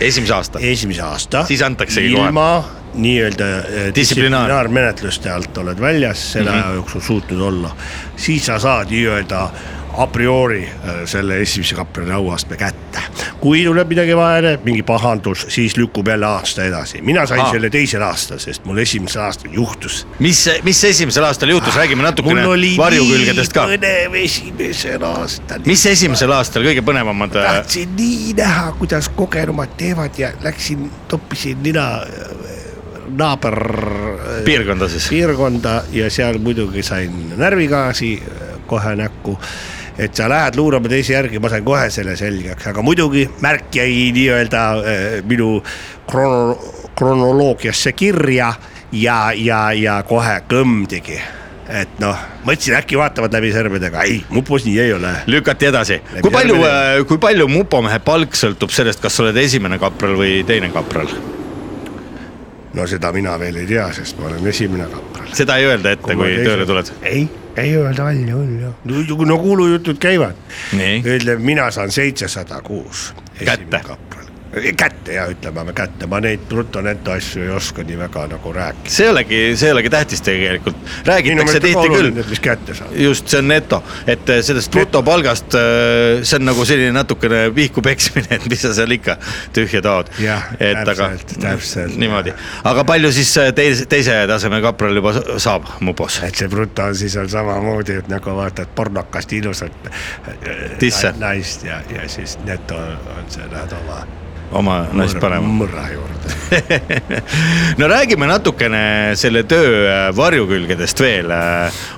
Speaker 1: esimese aasta ?
Speaker 2: esimese aasta .
Speaker 1: Siis antaksegi kohe.
Speaker 2: ilma nii-öelda äh,
Speaker 1: Distsiplinaar- Mhm.
Speaker 2: distsiplinaarmenetluste alt oled väljas selle mm -hmm. aja jooksul suutnud olla , siis sa saad nii-öelda a priori äh, selle esimese kaprali auastme kätte . kui tuleb midagi vahele , mingi pahandus , siis lükkub jälle aasta edasi , mina sain
Speaker 1: Aa.
Speaker 2: ah. selle teisel aastal , sest mul esimesel aastal juhtus
Speaker 1: mis , mis esimesel aastal juhtus , räägime natukene
Speaker 2: mul oli
Speaker 1: varjukülgedest ka
Speaker 2: nii . põnev esimesel aastal .
Speaker 1: mis esimesel aastal kõige põnevamad ? äh,
Speaker 2: tahtsin nii näha , kuidas kogenumad teevad ja läksin , toppisin nina äh, naaber äh,
Speaker 1: piirkonda siis .
Speaker 2: piirkonda ja seal muidugi sain närvigaasi äh, kohe näkku . et sa lähed luurama teise järgi , ma sain kohe selle selgeks , aga muidugi märk jäi nii-öelda äh, minu krono- , kronoloogiasse kirja ja , ja , ja kohe kõmm tegi et noh , mõtlesin äkki vaatavad läbi sõrmedega , ei , mupus nii ei ole .
Speaker 1: lükati edasi , kui palju , kui palju mupomehe palk sõltub sellest , kas sa oled esimene kapral või teine kapral ?
Speaker 2: no seda mina veel ei tea , sest ma olen esimene kapral .
Speaker 1: seda ei öelda ette , kui tööle tuled .
Speaker 2: ei , ei öelda välja küll jah . no no kuulujutud käivad .
Speaker 1: Nii.
Speaker 2: ütleme , mina saan seitsesada kuus .
Speaker 1: Kätte.
Speaker 2: kapral , kätte ja ütleme kätte , ma neid bruto-neto asju ei oska nii väga nagu rääkida .
Speaker 1: see ei olegi , see ei olegi tähtis tegelikult , räägitakse tihti küll .
Speaker 2: mis kätte saab .
Speaker 1: just , see on neto , et äh, sellest brutopalgast , see on nagu selline natukene pihku peksmine , et mis sa seal ikka tühja taod .
Speaker 2: Jah,
Speaker 1: et aga
Speaker 2: täpselt, täpselt.
Speaker 1: niimoodi , aga palju siis äh, teise , teise taseme kapral juba sa- saab mupos ?
Speaker 2: et see bruto on siis on samamoodi , et nagu vaatad pornokast ilusat äh,
Speaker 1: Tisse.
Speaker 2: naist ja , ja siis neto on see , lähed oma
Speaker 1: oma naist panema .
Speaker 2: mõrra juurde .
Speaker 1: no räägime natukene selle töö äh, varjukülgedest veel .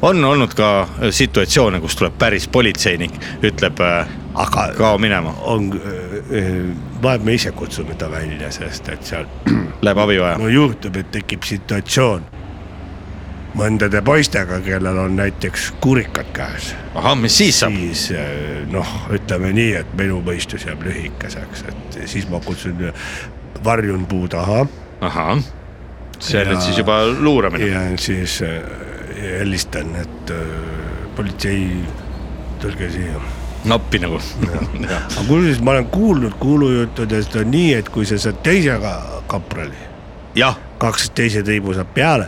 Speaker 1: on olnud ka situatsioone , kus tuleb päris politseinik , ütleb äh,
Speaker 2: aga
Speaker 1: kao minema ,
Speaker 2: on , vahel me ise kutsume ta välja , sest et seal
Speaker 1: läheb abi vaja .
Speaker 2: no juhtub , et tekib situatsioon mõndade poistega , kellel on näiteks kurikad käes ,
Speaker 1: ahah , mis siis saab ?
Speaker 2: siis äh, noh , ütleme nii , et minu mõistus jääb lühikeseks , et siis ma kutsun , varjun puu taha
Speaker 1: ahah ,
Speaker 6: see on nüüd siis juba luuramine .
Speaker 2: ja siis äh, helistan , et äh, politsei , tulge siia .
Speaker 1: nappi nagu .
Speaker 2: aga kusjuures ma olen kuulnud kuulujuttudest on nii , et kui sa saad teise ka kaprali ,
Speaker 1: jah ,
Speaker 2: kaks teise tiibu saab peale .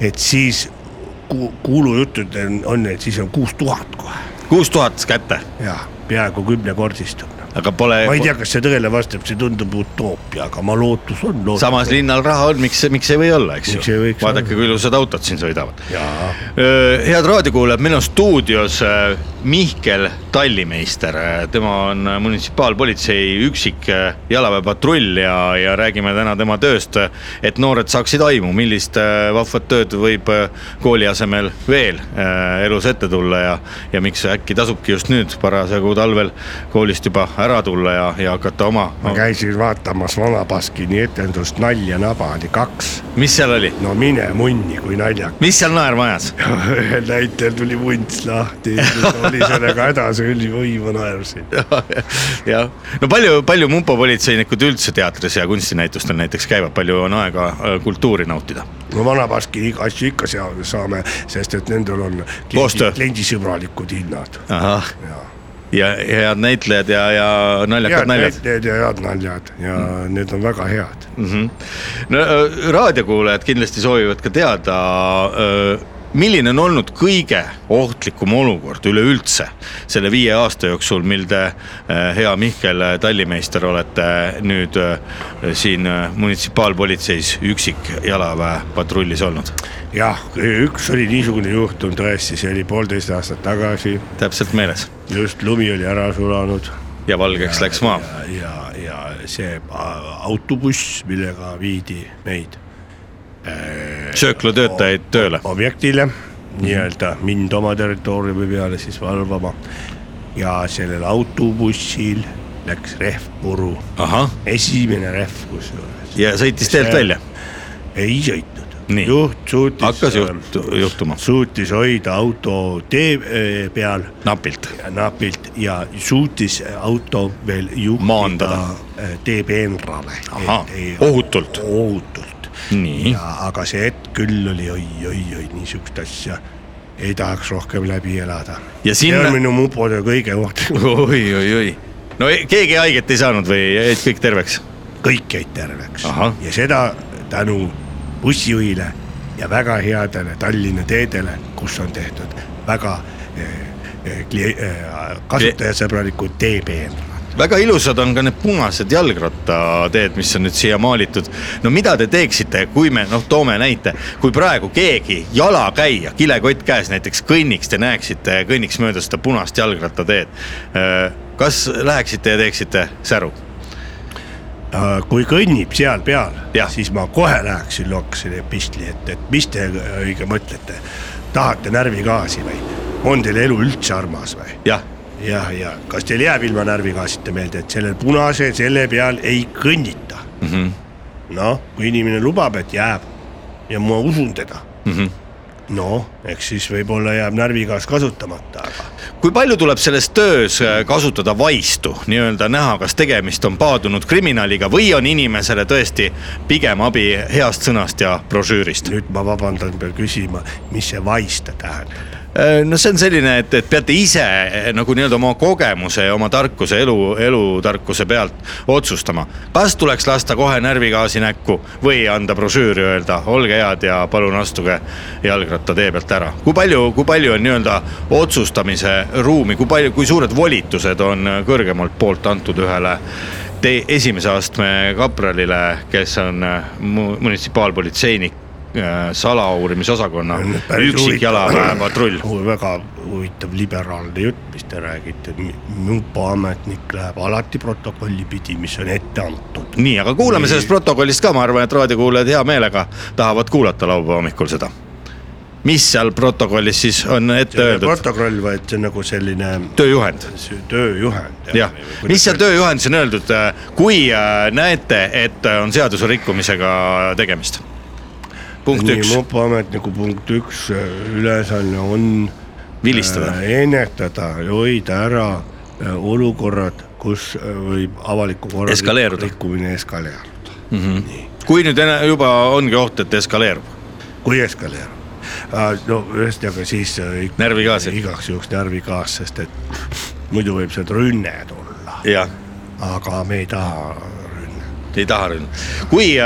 Speaker 2: et siis ku, kuulujuttud on, on , et siis on kuus tuhat kohe
Speaker 1: kuus tuhat kätte ,
Speaker 2: ja peaaegu kümnekordistub .
Speaker 1: aga pole
Speaker 2: Eh, ma ei tea , kas see tõele vastab , see tundub utoopia , aga ma lootus on .
Speaker 1: samas linnal raha on , miks , miks ei või olla , eks
Speaker 2: Miks ei
Speaker 1: ju
Speaker 2: võiks .
Speaker 1: vaadake , kui ilusad autod siin sõidavad .
Speaker 2: jaa ,
Speaker 1: Äh, head raadiokuulajad , meil on stuudios öö, Mihkel Tallimeister , tema on äh, munitsipaalpolitsei üksik öö, jalaväepatrull ja , ja räägime täna tema tööst , et noored saaksid aimu , millist öö, vahvat tööd võib öö, kooli asemel veel öö, elus ette tulla ja , ja miks äkki tasubki just nüüd parasjagu talvel koolist juba ära tulla ja , ja hakata oma ,
Speaker 2: ma käisin vaatamas Vana Baskini etendust Nalja naba oli kaks
Speaker 1: mis seal oli ,
Speaker 2: no mine munni , kui naljakas .
Speaker 1: mis seal naerma ajas ?
Speaker 2: ühel näitel tuli vunts lahti , oli sellega hädas , oli oi , ma naersin .
Speaker 1: jah , no palju , palju mupopolitseinikud üldse teatris ja kunstinäitustel näiteks käivad , palju on aega äh, kultuuri nautida ?
Speaker 2: no Vanabaski iga asju ikka sea- saame , sest et nendel on
Speaker 1: Koostöö.
Speaker 2: kliendi, kliendisõbralikud hinnad .
Speaker 1: ahah , ja ja head näitlejad ja , ja naljakad
Speaker 2: head
Speaker 1: naljad . Mm.
Speaker 2: näitlejad ja head naljad ja mm. need on väga head .
Speaker 1: Mhm. no äh, raadiokuulajad kindlasti soovivad ka teada , milline on olnud kõige ohtlikum olukord üleüldse selle viie aasta jooksul , mil te , hea Mihkel äh, Tallimeister , olete nüüd äh, siin äh, munitsipaalpolitseis üksik jalaväepatrullis olnud
Speaker 2: jah , üks oli niisugune juhtum tõesti , see oli poolteist aastat tagasi ,
Speaker 1: täpselt meeles
Speaker 2: just lumi oli ära sulanud
Speaker 1: ja valgeks läks maa .
Speaker 2: ja , ja see a- autobuss , millega viidi meid
Speaker 1: sööklatöötajaid tööle . Mm.
Speaker 2: objektile nii-öelda mind oma territooriumi peale siis valvama . ja sellel autobussil läks rehv puru ,
Speaker 1: ahah ,
Speaker 2: esimene rehv kusjuures .
Speaker 1: ja sõitis teelt välja .
Speaker 2: ei sõitnud ,
Speaker 1: Nii.
Speaker 2: juht suutis .
Speaker 1: hakkas juht , juhtuma
Speaker 2: suutis hoida auto tee eh, peal
Speaker 1: napilt .
Speaker 2: ja napilt ja suutis auto veel juhtida
Speaker 1: Maandada.
Speaker 2: eh, tee peenrale .
Speaker 1: Ahaa, ohutult.
Speaker 2: ohutult
Speaker 1: nii ,
Speaker 2: ja , aga see hetk küll oli oi-oi-oi niisugust asja ei tahaks rohkem läbi elada .
Speaker 1: ja
Speaker 2: see on
Speaker 1: sinna ,
Speaker 2: minu mupode kõige ohtlikum ,
Speaker 1: oi-oi-oi , no ei- keegi haiget ei saanud või jäid kõik terveks ?
Speaker 2: kõik jäid terveks
Speaker 1: Ahah.
Speaker 2: ja seda tänu bussijuhile ja väga headele Tallinna teedele , kus on tehtud väga eh, eh, klie- eh, kasutajasõbralikud teepeen .
Speaker 1: väga ilusad on ka need punased jalgrattateed , mis on nüüd siia maalitud . no mida te teeksite , kui me noh , toome näite , kui praegu keegi jalakäija , kilekott käes näiteks kõnniks , te näeksite , kõnniks mööda seda punast jalgrattateed . kas läheksite ja teeksite säru ?
Speaker 2: Ah, kui kõnnib seal peal
Speaker 1: Jah. ,
Speaker 2: siis ma kohe läheksin , looksin epistli , et , et mis te õige mõtlete , tahate närvigaasi või on teil elu üldse armas või ?
Speaker 1: jah
Speaker 2: jah , ja kas teil jääb ilma närvigaasita meelde , et sellel punase , selle peal ei kõnnita mm
Speaker 1: Mhm. ?
Speaker 2: noh , kui inimene lubab , et jääb ja ma usun teda mm .
Speaker 1: Mhm.
Speaker 2: -hmm. no eks siis võib-olla jääb närvigaas kasutamata , aga
Speaker 1: kui palju tuleb selles töös äh, kasutada vaistu , nii-öelda näha , kas tegemist on paadunud kriminaaliga või on inimesele tõesti pigem abi heast sõnast ja brošüürist ?
Speaker 2: nüüd ma vabandan , pean küsima , mis see vaista tähendab .
Speaker 1: Äh, no see on selline , et , et peate ise eh, nagu nii-öelda oma kogemuse ja oma tarkuse , elu , elutarkuse pealt otsustama , kas tuleks lasta kohe närvigaasi näkku või anda brošüüri , öelda olge head ja palun astuge jalgrattatee pealt ära . kui palju , kui palju on nii-öelda otsustamise ruumi , kui palju , kui suured volitused on kõrgemalt poolt antud ühele te esimese astme kapralile , kes on eh, mu- munitsipaalpolitseinik , äh, salauurimisosakonna üksik jalaväepatrull .
Speaker 2: väga huvitav liberaalne jutt , mis te räägite , mupo ametnik läheb alati protokolli pidi , mis on ette antud .
Speaker 1: nii , aga kuulame sellest protokollist ka , ma arvan , et raadiokuulajad hea meelega tahavad kuulata laupäeva hommikul seda . mis seal protokollis siis on ette öeldud ?
Speaker 2: protokoll , vaid see on nagu selline
Speaker 1: tööjuhend ,
Speaker 2: see tööjuhend .
Speaker 1: jah . mis seal ? tööjuhendis on öeldud , kui äh, näete , et äh, on seaduserikkumisega tegemist ? punkt
Speaker 2: nii ,
Speaker 1: üks ,
Speaker 2: mupoametniku punkt üks äh, ülesanne on .
Speaker 1: Vilistada.
Speaker 2: ennetada ja hoida ära äh, olukorrad , kus äh, võib avaliku korra
Speaker 1: Eskaleeruda.
Speaker 2: rikkumine eskaleeruda mm . -hmm.
Speaker 1: kui nüüd ene- juba ongi oht , et eskaleerub ,
Speaker 2: kui eskaleerub . no ühesõnaga siis äh, ik-
Speaker 1: Närvigaas, et-
Speaker 2: igaks juhuks närvigaas , sest et muidu võib sealt rünne tulla ,
Speaker 1: jah ,
Speaker 2: aga me ei taha rünne .
Speaker 1: ei taha rünnata . kui ,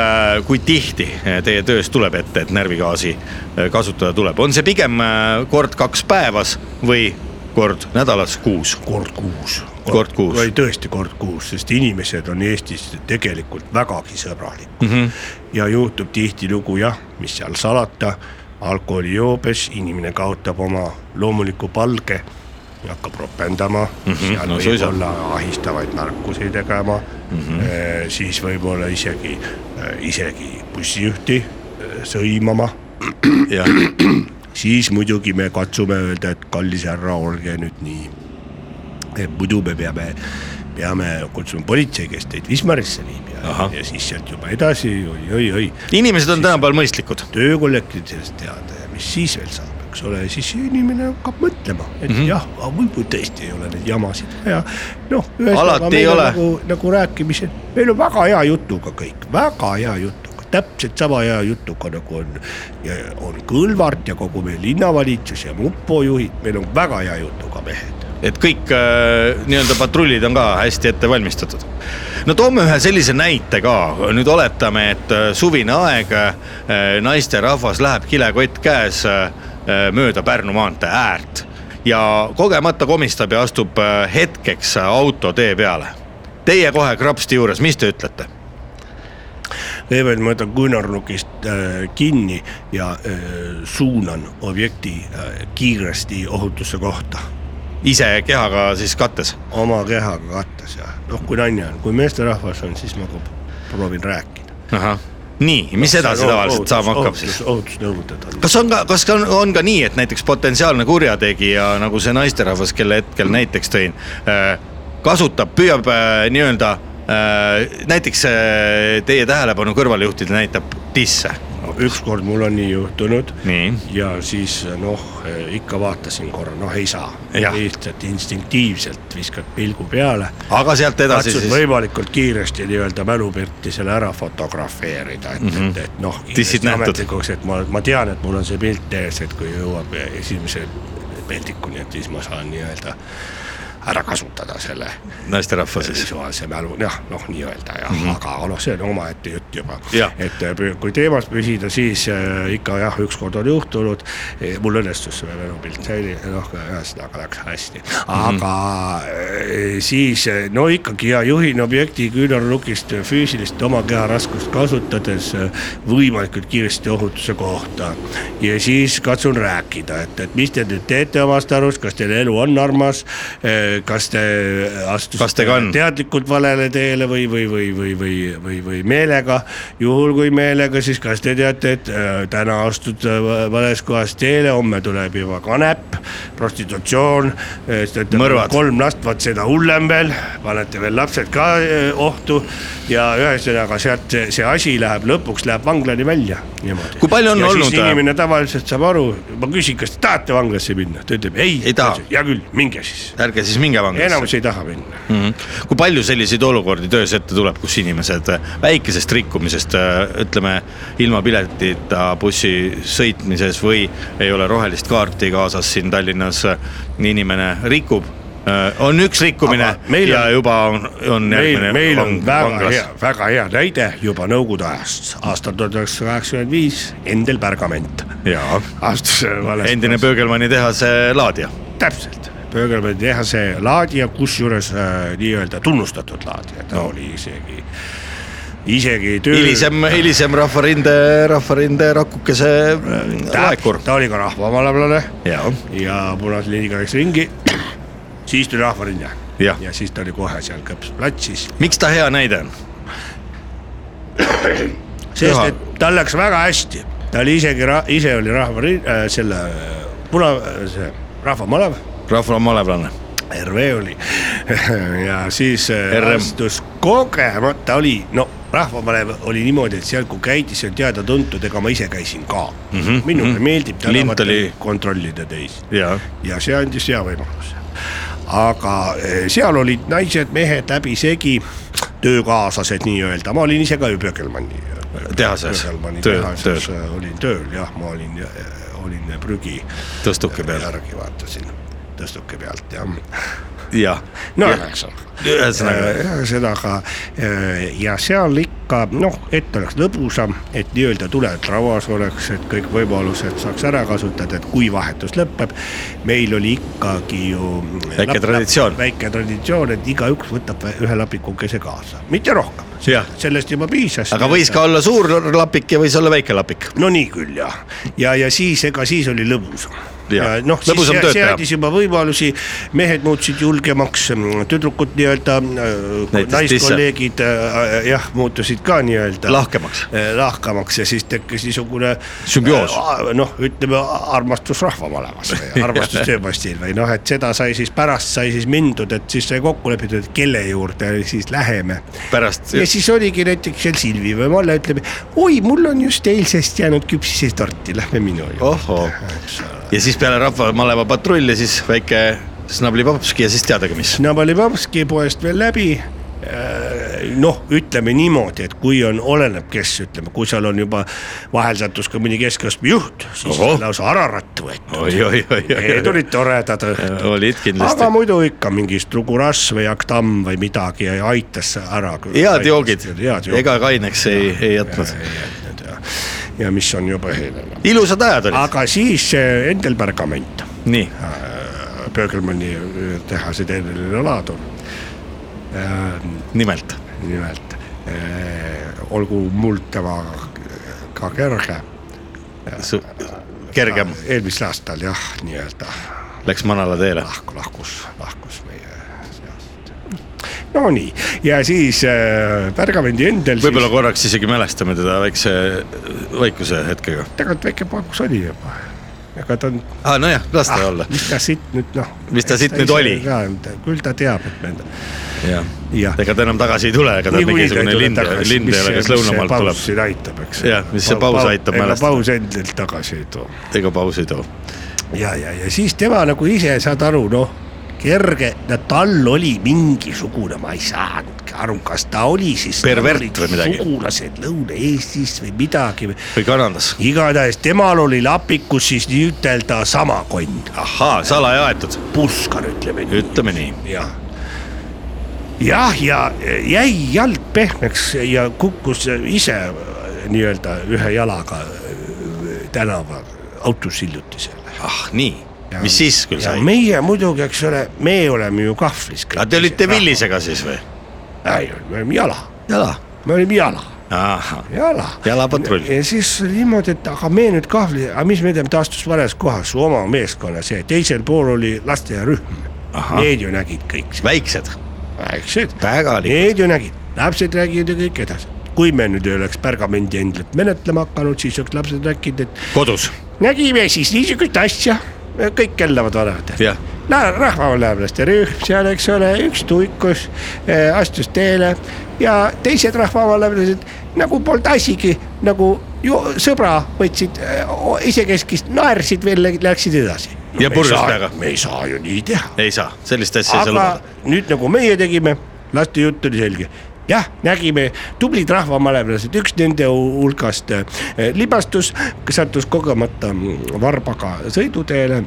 Speaker 1: kui tihti äh, teie töös tuleb ette , et närvigaasi äh, kasutada tuleb , on see pigem äh, kord kaks päevas või kord nädalas kuus ?
Speaker 2: kord kuus .
Speaker 1: Kord kuus.
Speaker 2: või tõesti kord kuus , sest inimesed on Eestis tegelikult vägagi sõbralikud mm .
Speaker 1: Mhm.
Speaker 2: -hmm. ja juhtub tihtilugu jah , mis seal salata , alkoholijoobes inimene kaotab oma loomuliku palge ja hakkab ropendama mm , -hmm. seal
Speaker 1: Mhm. no
Speaker 2: no, võib
Speaker 1: suisa. Mhm.
Speaker 2: olla ahistavaid märkusi tegema mm , -hmm. siis võib-olla isegi , isegi bussijuhti eh, sõimama
Speaker 1: jah ,
Speaker 2: siis muidugi me katsume öelda , et kallis härra , olge nüüd nii . muidu me peame , peame kutsuma politsei , kes teid Wismarisse viib ja
Speaker 1: Ahah. ,
Speaker 2: ja siis sealt juba edasi oi , oi , oi .
Speaker 1: inimesed on tänapäeval mõistlikud
Speaker 2: töökollektiiv sellest teada ja mis siis veel saab , eks ole , siis inimene hakkab mõtlema , et mm
Speaker 1: Mhm.
Speaker 2: -hmm. jah , võib-olla tõesti ei ole neid jamasid vaja . noh ,
Speaker 1: Alati ei
Speaker 2: meil on
Speaker 1: ole.
Speaker 2: nagu , nagu rääkimised , meil on väga hea jutuga kõik , väga hea jutuga , täpselt sama hea jutuga nagu on , on Kõlvart ja kogu meie linnavalitsus ja mupo juhid , meil on väga hea jutuga mehed .
Speaker 1: et kõik äh, nii-öelda patrullid on ka hästi ette valmistatud . no toome ühe sellise näite ka , nüüd oletame , et äh, suvine aeg äh, , naisterahvas läheb kilekott käes äh, äh, mööda Pärnu maantee äärt ja kogemata komistab ja astub äh, hetkeks äh, auto tee peale . Teie kohe krapsti juures , mis te ütlete ?
Speaker 2: kõigepealt ma võtan küünarnukist äh, kinni ja äh, suunan objekti äh, kiiresti ohutusse kohta
Speaker 1: ise kehaga siis kattes ,
Speaker 2: oma kehaga kattes ja noh , kui naine on , kui meesterahvas on , siis ma ka proovin rääkida .
Speaker 1: ahah , nii , mis edasi tavaliselt saama hakkab siis ??
Speaker 2: ohutusnõuded on .
Speaker 1: kas on ka , kas ka on, on ka nii , et näiteks potentsiaalne kurjategija , nagu see naisterahvas , kelle hetkel näiteks tõin , kasutab , püüab äh, nii-öelda äh, näiteks äh, teie tähelepanu kõrvale juhtida , näitab disse .
Speaker 2: ükskord mul on nii juhtunud
Speaker 1: Nii.
Speaker 2: ja siis noh , ikka vaatasin korra , noh ei saa ,
Speaker 1: Jah.
Speaker 2: lihtsalt instinktiivselt viskad pilgu peale
Speaker 1: aga sealt edasi
Speaker 2: katsud
Speaker 1: siis ,
Speaker 2: võimalikult kiiresti nii-öelda mälupilti selle ära fotografeerida , et mm , -hmm. et , et noh .
Speaker 1: Mhm. Tissid nähtud.
Speaker 2: ametlikuks , et ma , ma tean , et mul on see pilt ees , et kui jõuab esimese peldikuni , et siis ma saan nii-öelda ära kasutada selle
Speaker 1: naisterahvas siis .
Speaker 2: visuaalse mälu , jah , noh , nii-öelda jah mm , -hmm. aga noh , see on omaette jutt juba
Speaker 1: Jah. .
Speaker 2: et eh, püü- kui teemas püsida , siis äh, ikka jah , ükskord on juhtunud , mul õnnestus see mälupilt säilida , noh , ühesõnaga läks hästi .
Speaker 1: Mhm.
Speaker 2: aga eh, siis eh, no ikkagi ja juhin objekti küünarnukist füüsilist oma keha raskust kasutades eh, võimalikult kiiresti ohutuse kohta . ja siis katsun rääkida , et , et mis te nüüd teete omast arust , kas teil elu on armas , kas te äh, astusite
Speaker 1: Kas tega on?
Speaker 2: teadlikult valele teele või , või , või , või , või , või , või meelega . juhul kui meelega , siis kas te teate , et äh, täna astud äh, va- vales kohas teele , homme tuleb juba kanep , prostitutsioon .
Speaker 1: Mõrvad.
Speaker 2: kolm last , vaat seda hullem veel , panete veel lapsed ka äh, ohtu ja ühesõnaga sealt see, see asi läheb lõpuks läheb vanglani välja .
Speaker 1: Kui palju on
Speaker 2: ja
Speaker 1: olnud,
Speaker 2: siis
Speaker 1: äh,
Speaker 2: inimene tavaliselt saab aru , ma küsin , kas te tahate vanglasse minna , ta ütleb ei,
Speaker 1: Ei taha.
Speaker 2: hea küll , minge siis ,
Speaker 1: ärge siis minge vanglasse .
Speaker 2: enamus ei nagu taha minna .
Speaker 1: Mhm. kui palju selliseid olukordi töös ette tuleb , kus inimesed äh, väikesest rikkumisest , ütleme ilma piletita bussi sõitmises või ei ole rohelist kaarti kaasas siin Tallinnas , inimene rikub , on üks rikkumine
Speaker 2: Aga meil
Speaker 1: ja
Speaker 2: on-
Speaker 1: juba on , on
Speaker 2: meil ,
Speaker 1: järgmine .
Speaker 2: meil on väga hea , väga hea näide juba Nõukogude ajast , aastal tuhat üheksasada kaheksakümmend viis , Endel Pärgament
Speaker 1: jaa ,
Speaker 2: astus valesti .
Speaker 1: endine Pöögelmanni tehase laadija ,
Speaker 2: täpselt , Pöögelmanni tehase laadija , kusjuures äh, nii-öelda tunnustatud laadija , ta oli isegi , isegi töö .
Speaker 1: hilisem , hilisem Rahvarinde , Rahvarinde rakukese äh, laekur .
Speaker 2: ta oli ka rahvamalablane
Speaker 1: jaa ,
Speaker 2: ja punase liiniga läks ringi , siis tuli Rahvarinne
Speaker 1: Jah.
Speaker 2: ja siis ta oli kohe seal Kõps platsis ,
Speaker 1: miks ta hea näide on ?
Speaker 2: sest
Speaker 1: Jaa.
Speaker 2: et tal läks väga hästi , ta oli isegi , ise oli rahva äh, selle äh, puna , see rahvamalev ,
Speaker 1: rahvamalevlane ,
Speaker 2: RV oli ja siis äh,
Speaker 1: RM.
Speaker 2: astus kogemata oli , no rahvamalev oli niimoodi , et seal , kui käidi , see on teada-tuntud , ega ma ise käisin ka mm . -hmm, minule mm -hmm. meeldib
Speaker 1: Mhm, Lint
Speaker 2: tänavatel
Speaker 1: oli-
Speaker 2: kontrollida teisi
Speaker 1: jaa
Speaker 2: ja see andis hea võimaluse . aga eh, seal olid naised , mehed läbisegi , töökaaslased nii-öelda , ma olin ise ka ju eh, Pöökelmanni
Speaker 1: tehases , töö , töö
Speaker 2: tööl , eh, olin tööl jah , ma olin , olin prügi
Speaker 1: tõstuki peal ,
Speaker 2: järgi vaatasin tõstuki pealt jah .
Speaker 1: jah .
Speaker 2: no
Speaker 1: ühesõnaga ,
Speaker 2: Äh, ühesõnaga äh, ja seal ikka noh , et oleks lõbusam , et nii-öelda tuled rauas oleks , et kõik võimalused saaks ära kasutada , et kui vahetus lõpeb . meil oli ikkagi ju .
Speaker 1: Väike traditsioon.
Speaker 2: väike traditsioon , et igaüks võtab ühe lapikukese kaasa , mitte rohkem ,
Speaker 1: jah ,
Speaker 2: sellest juba piisas .
Speaker 1: aga võis ka olla suur lapik ja võis olla väike lapik .
Speaker 2: no nii küll jah , ja , ja siis , ega siis oli lõbusam .
Speaker 1: Jah,
Speaker 2: ja noh , siis
Speaker 1: lõbusam
Speaker 2: see,
Speaker 1: tööd
Speaker 2: see
Speaker 1: teha.
Speaker 2: andis juba võimalusi , mehed muutusid julgemaks , tüdrukud nii-öelda ,
Speaker 1: Näitasid
Speaker 2: naiskolleegid äh, jah , muutusid ka nii-öelda .
Speaker 1: Lahkemaks. .
Speaker 2: lahkemaks ja siis tekkis niisugune .
Speaker 1: Sümbioos. .
Speaker 2: noh , ütleme armastus rahva malevas või armastus tööpostil või noh , et seda sai siis pärast sai siis mindud , et siis sai kokku lepitud , et kelle juurde siis läheme
Speaker 1: pärast
Speaker 2: ja siis oligi näiteks seal Silvi või Malle ütleb , oi , mul on just eilsest jäänud küpsisetorti , lähme minu juurde .
Speaker 1: ohoo , ja siis peale rahvamaleva patrulli siis väike snablipapski ja siis teadagi mis .
Speaker 2: Nabalibavski poest veel läbi . noh , ütleme niimoodi , et kui on , oleneb , kes ütleme , kui seal on juba vahel sattus ka mõni keskastmejuht , siis
Speaker 1: Ohoh.
Speaker 2: on lausa Ararat võetud . Need
Speaker 1: oi-oi-oi-oi ,
Speaker 2: olid toredad õhtud .
Speaker 1: olid kindlasti
Speaker 2: aga . muidu ikka mingi Strugurass või Aktamm või midagi ja aitas ära .
Speaker 1: head joogid
Speaker 2: head , joogid .
Speaker 1: ega kaineks ei , ei jätnud .
Speaker 2: ja mis on ju põhiline .
Speaker 1: ilusad ajad olid ,
Speaker 2: aga siis
Speaker 1: äh,
Speaker 2: eh, Endel Pergament ,
Speaker 1: nii ,
Speaker 2: Pöögelmanni äh, tehase teeneline laadur
Speaker 1: nimelt
Speaker 2: nimelt . olgu mul temaga ka kerge ,
Speaker 1: Su . kergem
Speaker 2: eelmisel aastal jah , nii-öelda
Speaker 1: läks manala teele ,
Speaker 2: lahku , lahkus , lahkus meie seast . Nonii ja siis eh, Pärgamendi Endel .
Speaker 1: võib-olla korraks isegi mälestame teda väikse vaikuse hetkega .
Speaker 2: tegelikult väike pankus oli juba , aga ta on ,
Speaker 1: aa , nojah , las ta olla ,
Speaker 2: mis ta siit nüüd noh .
Speaker 1: Mis ta siit nüüd oli?
Speaker 2: küll ta teab , et me
Speaker 1: jah .
Speaker 2: jah .
Speaker 1: ega ta enam tagasi ei tule , ega ta mingisugune lind , lind ei ole , kes lõunamaalt tuleb
Speaker 2: paus . siin aitab , eks .
Speaker 1: Jah, mis see paus aitab mälestada.
Speaker 2: mälestada . paus endilt tagasi ei too .
Speaker 1: ega pausi ei too .
Speaker 2: ja , ja , ja siis tema nagu ise saad aru , noh , kerge , no tal oli mingisugune , ma ei saanudki aru , kas ta oli siis .
Speaker 1: Pervert või midagi.
Speaker 2: sugulased Lõuna-Eestist või midagi või
Speaker 1: või Kanadas .
Speaker 2: igatahes temal oli lapikus siis nii-ütelda sama kond ,
Speaker 1: ahhaa , salaja aetud ,
Speaker 2: puskar ütleme nii .
Speaker 1: ütleme nii .
Speaker 2: jah , jah , ja jäi jalg pehmeks ja kukkus ise nii-öelda ühe jalaga tänava autosillutisele .
Speaker 1: ah nii , mis siis küll
Speaker 2: ja
Speaker 1: sai ?
Speaker 2: meie muidugi , eks ole , me oleme ju kahvlis .
Speaker 1: aga te olite ? Villisega siis või ?
Speaker 2: ei , me olime jala ,
Speaker 1: jala .
Speaker 2: me olime jala ,
Speaker 1: ahah ,
Speaker 2: jala .
Speaker 1: Jalapatrull.
Speaker 2: ja siis oli niimoodi , et aga me nüüd kahvli , aga mis me teeme , ta astus vales kohas oma meeskonna see , teisel pool oli lasteaiarühm .
Speaker 1: Ahah.
Speaker 2: Need ju nägid kõik seda ,
Speaker 1: väiksed ,
Speaker 2: väiksed .
Speaker 1: väga lihtne .
Speaker 2: Need ju nägid , lapsed räägivad ja kõik edasi . kui me nüüd ei oleks pergamendi endlat menetlema hakanud , siis oleks lapsed rääkinud , et
Speaker 1: kodus ,
Speaker 2: nägime siis niisugust asja , kõik kellavad vanemad .
Speaker 1: jah ,
Speaker 2: rahvavanemaste rühm seal , eks ole , üks tuikus äh, astus teele ja teised rahvavanemased nagu polnud asigi nagu ju sõbra võtsid äh, o- isekeskist , naersid veel , läksid edasi .
Speaker 1: Ja purjus peaga.
Speaker 2: me ei saa ju nii teha
Speaker 1: ei saa , sellist asja ei saa
Speaker 2: aga
Speaker 1: lubada .
Speaker 2: nüüd nagu meie tegime , laste jutt oli selge jah , nägime tublid rahvamalevlased , üks nende hu- hulgast äh, libastus , sattus kogemata mm, varbaga sõiduteele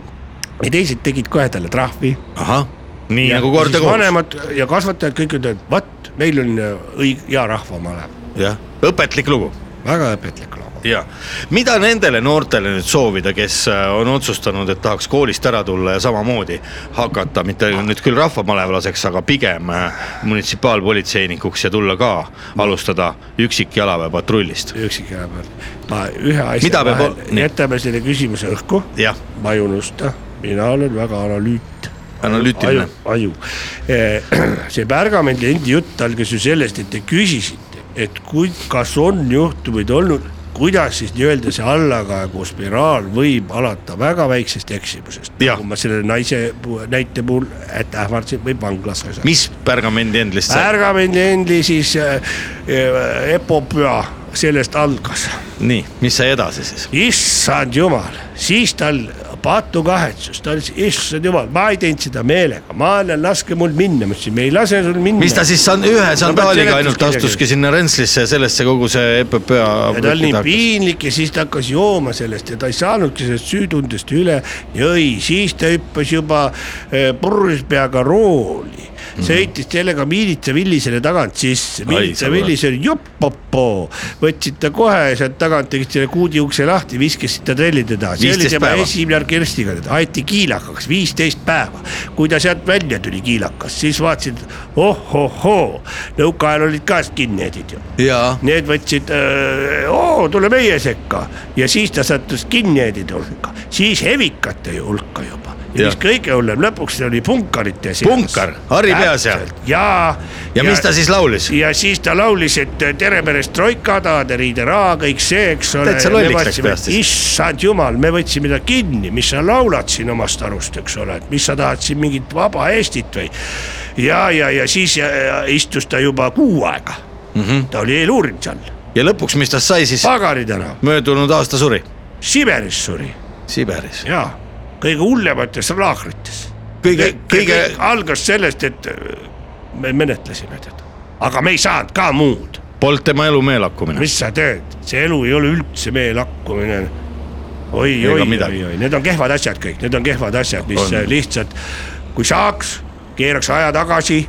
Speaker 2: ja teised tegid kohe talle trahvi .
Speaker 1: ahah , nii ja, nagu kord ja kohus ,
Speaker 2: vanemad ja kasvatajad kõik ütlevad , vot meil on äh, õig- , hea rahvamalev ,
Speaker 1: jah , õpetlik lugu
Speaker 2: väga õpetlik lugu .
Speaker 1: ja mida nendele noortele nüüd soovida , kes äh, on otsustanud , et tahaks koolist ära tulla ja samamoodi hakata mitte nüüd küll rahvamalevalaseks , aga pigem äh, munitsipaalpolitseinikuks ja tulla ka alustada üksikjalaväepatrullist .
Speaker 2: üksik jääb , ma ühe asja
Speaker 1: Mida peab
Speaker 2: vahel
Speaker 1: ol- nii.
Speaker 2: jätame selle küsimuse õhku ,
Speaker 1: jah ,
Speaker 2: ma ei unusta , mina olen väga analüüt
Speaker 1: analüütiline
Speaker 2: aju ,, aju . see Pärgamendi endi jutt algas ju sellest , et te küsisite , et kui , kas on juhtumeid olnud , kuidas siis nii-öelda see allakaegu spiraal võib alata väga väiksest eksimusest .
Speaker 1: Jah.
Speaker 2: nagu ma selle naise pu- näite puhul , et ähvardasin või vanglasse sain .
Speaker 1: mis pärgamendi endlist sai ?
Speaker 2: Pärgamendi endi siis äh, äh, epopüa sellest algas
Speaker 1: nii , mis sai edasi siis ?
Speaker 2: issand jumal , siis tal patu kahetsus , ta ütles , issand jumal , ma ei teinud seda meelega , ma annan , laske mul minna , ma ütlesin , me ei lase sul minna .
Speaker 1: mis ta siis san- , ühe sandaaliga ainult
Speaker 2: seletuskirja
Speaker 1: astuski sinna rentslisse ja sellesse kogu see E EPP .
Speaker 2: ja ta oli nii piinlik ja siis ta hakkas jooma sellest ja ta ei saanudki sellest süütundest üle . jõi , siis ta hüppas juba eh, purjus peaga rooli ,
Speaker 1: Mhm.
Speaker 2: sõitis sellega miilitsa Villisele tagant sisse , miilitsa
Speaker 1: sõbrad.
Speaker 2: Villis oli joppopo . võtsid ta kohe sealt tagant , tegid selle kuudi ukse lahti , viskasid ta trellide taha , see oli
Speaker 1: 15
Speaker 2: tema
Speaker 1: päeva.
Speaker 2: esimene orkestriga , teda aeti kiilakaks viisteist päeva . kui ta sealt välja tuli kiilakas , siis vaatasid oh-oh-oo , nõukaajal olid ka skinhead'id ju
Speaker 1: jaa ,
Speaker 2: Need võtsid , oo tule meie sekka ja siis ta sattus kinniedide hulka , siis hevikate ju hulka juba . ja
Speaker 1: Jah.
Speaker 2: mis kõige hullem , lõpuks see oli punkarite seas .
Speaker 1: Punkar, Harri Peasea. .
Speaker 2: ja .
Speaker 1: ja mis ta siis laulis ?
Speaker 2: ja siis ta laulis , et tere perestroika , tahad riidera , kõik see , eks ole .
Speaker 1: Täitsa lolliks läks peast siis.
Speaker 2: issand jumal , me võtsime ta kinni , mis sa laulad siin omast arust , eks ole , et mis sa tahad siin mingit vaba Eestit või . ja , ja , ja siis äh, istus ta juba kuu aega mm ,
Speaker 1: Mhm.
Speaker 2: -hmm. ta oli eeluurinud seal ,
Speaker 1: ja lõpuks , mis tast sai siis ?
Speaker 2: pagari tänav ,
Speaker 1: möödunud aasta suri
Speaker 2: Siberis suri
Speaker 1: Siberis .
Speaker 2: ja kõige hullemates laagrites .
Speaker 1: kõige , kõige ,
Speaker 2: algas sellest , et äh, me menetlesime teda , aga me ei saanud ka muud
Speaker 1: polnud tema elu meelakkumine .
Speaker 2: mis sa teed , see elu ei ole üldse meie lakkumine . oi ,
Speaker 1: Ega
Speaker 2: oi ,
Speaker 1: midagi.
Speaker 2: oi , oi , need on kehvad asjad kõik , need on kehvad asjad , mis
Speaker 1: On.
Speaker 2: on. lihtsalt , kui saaks , keeraks aja tagasi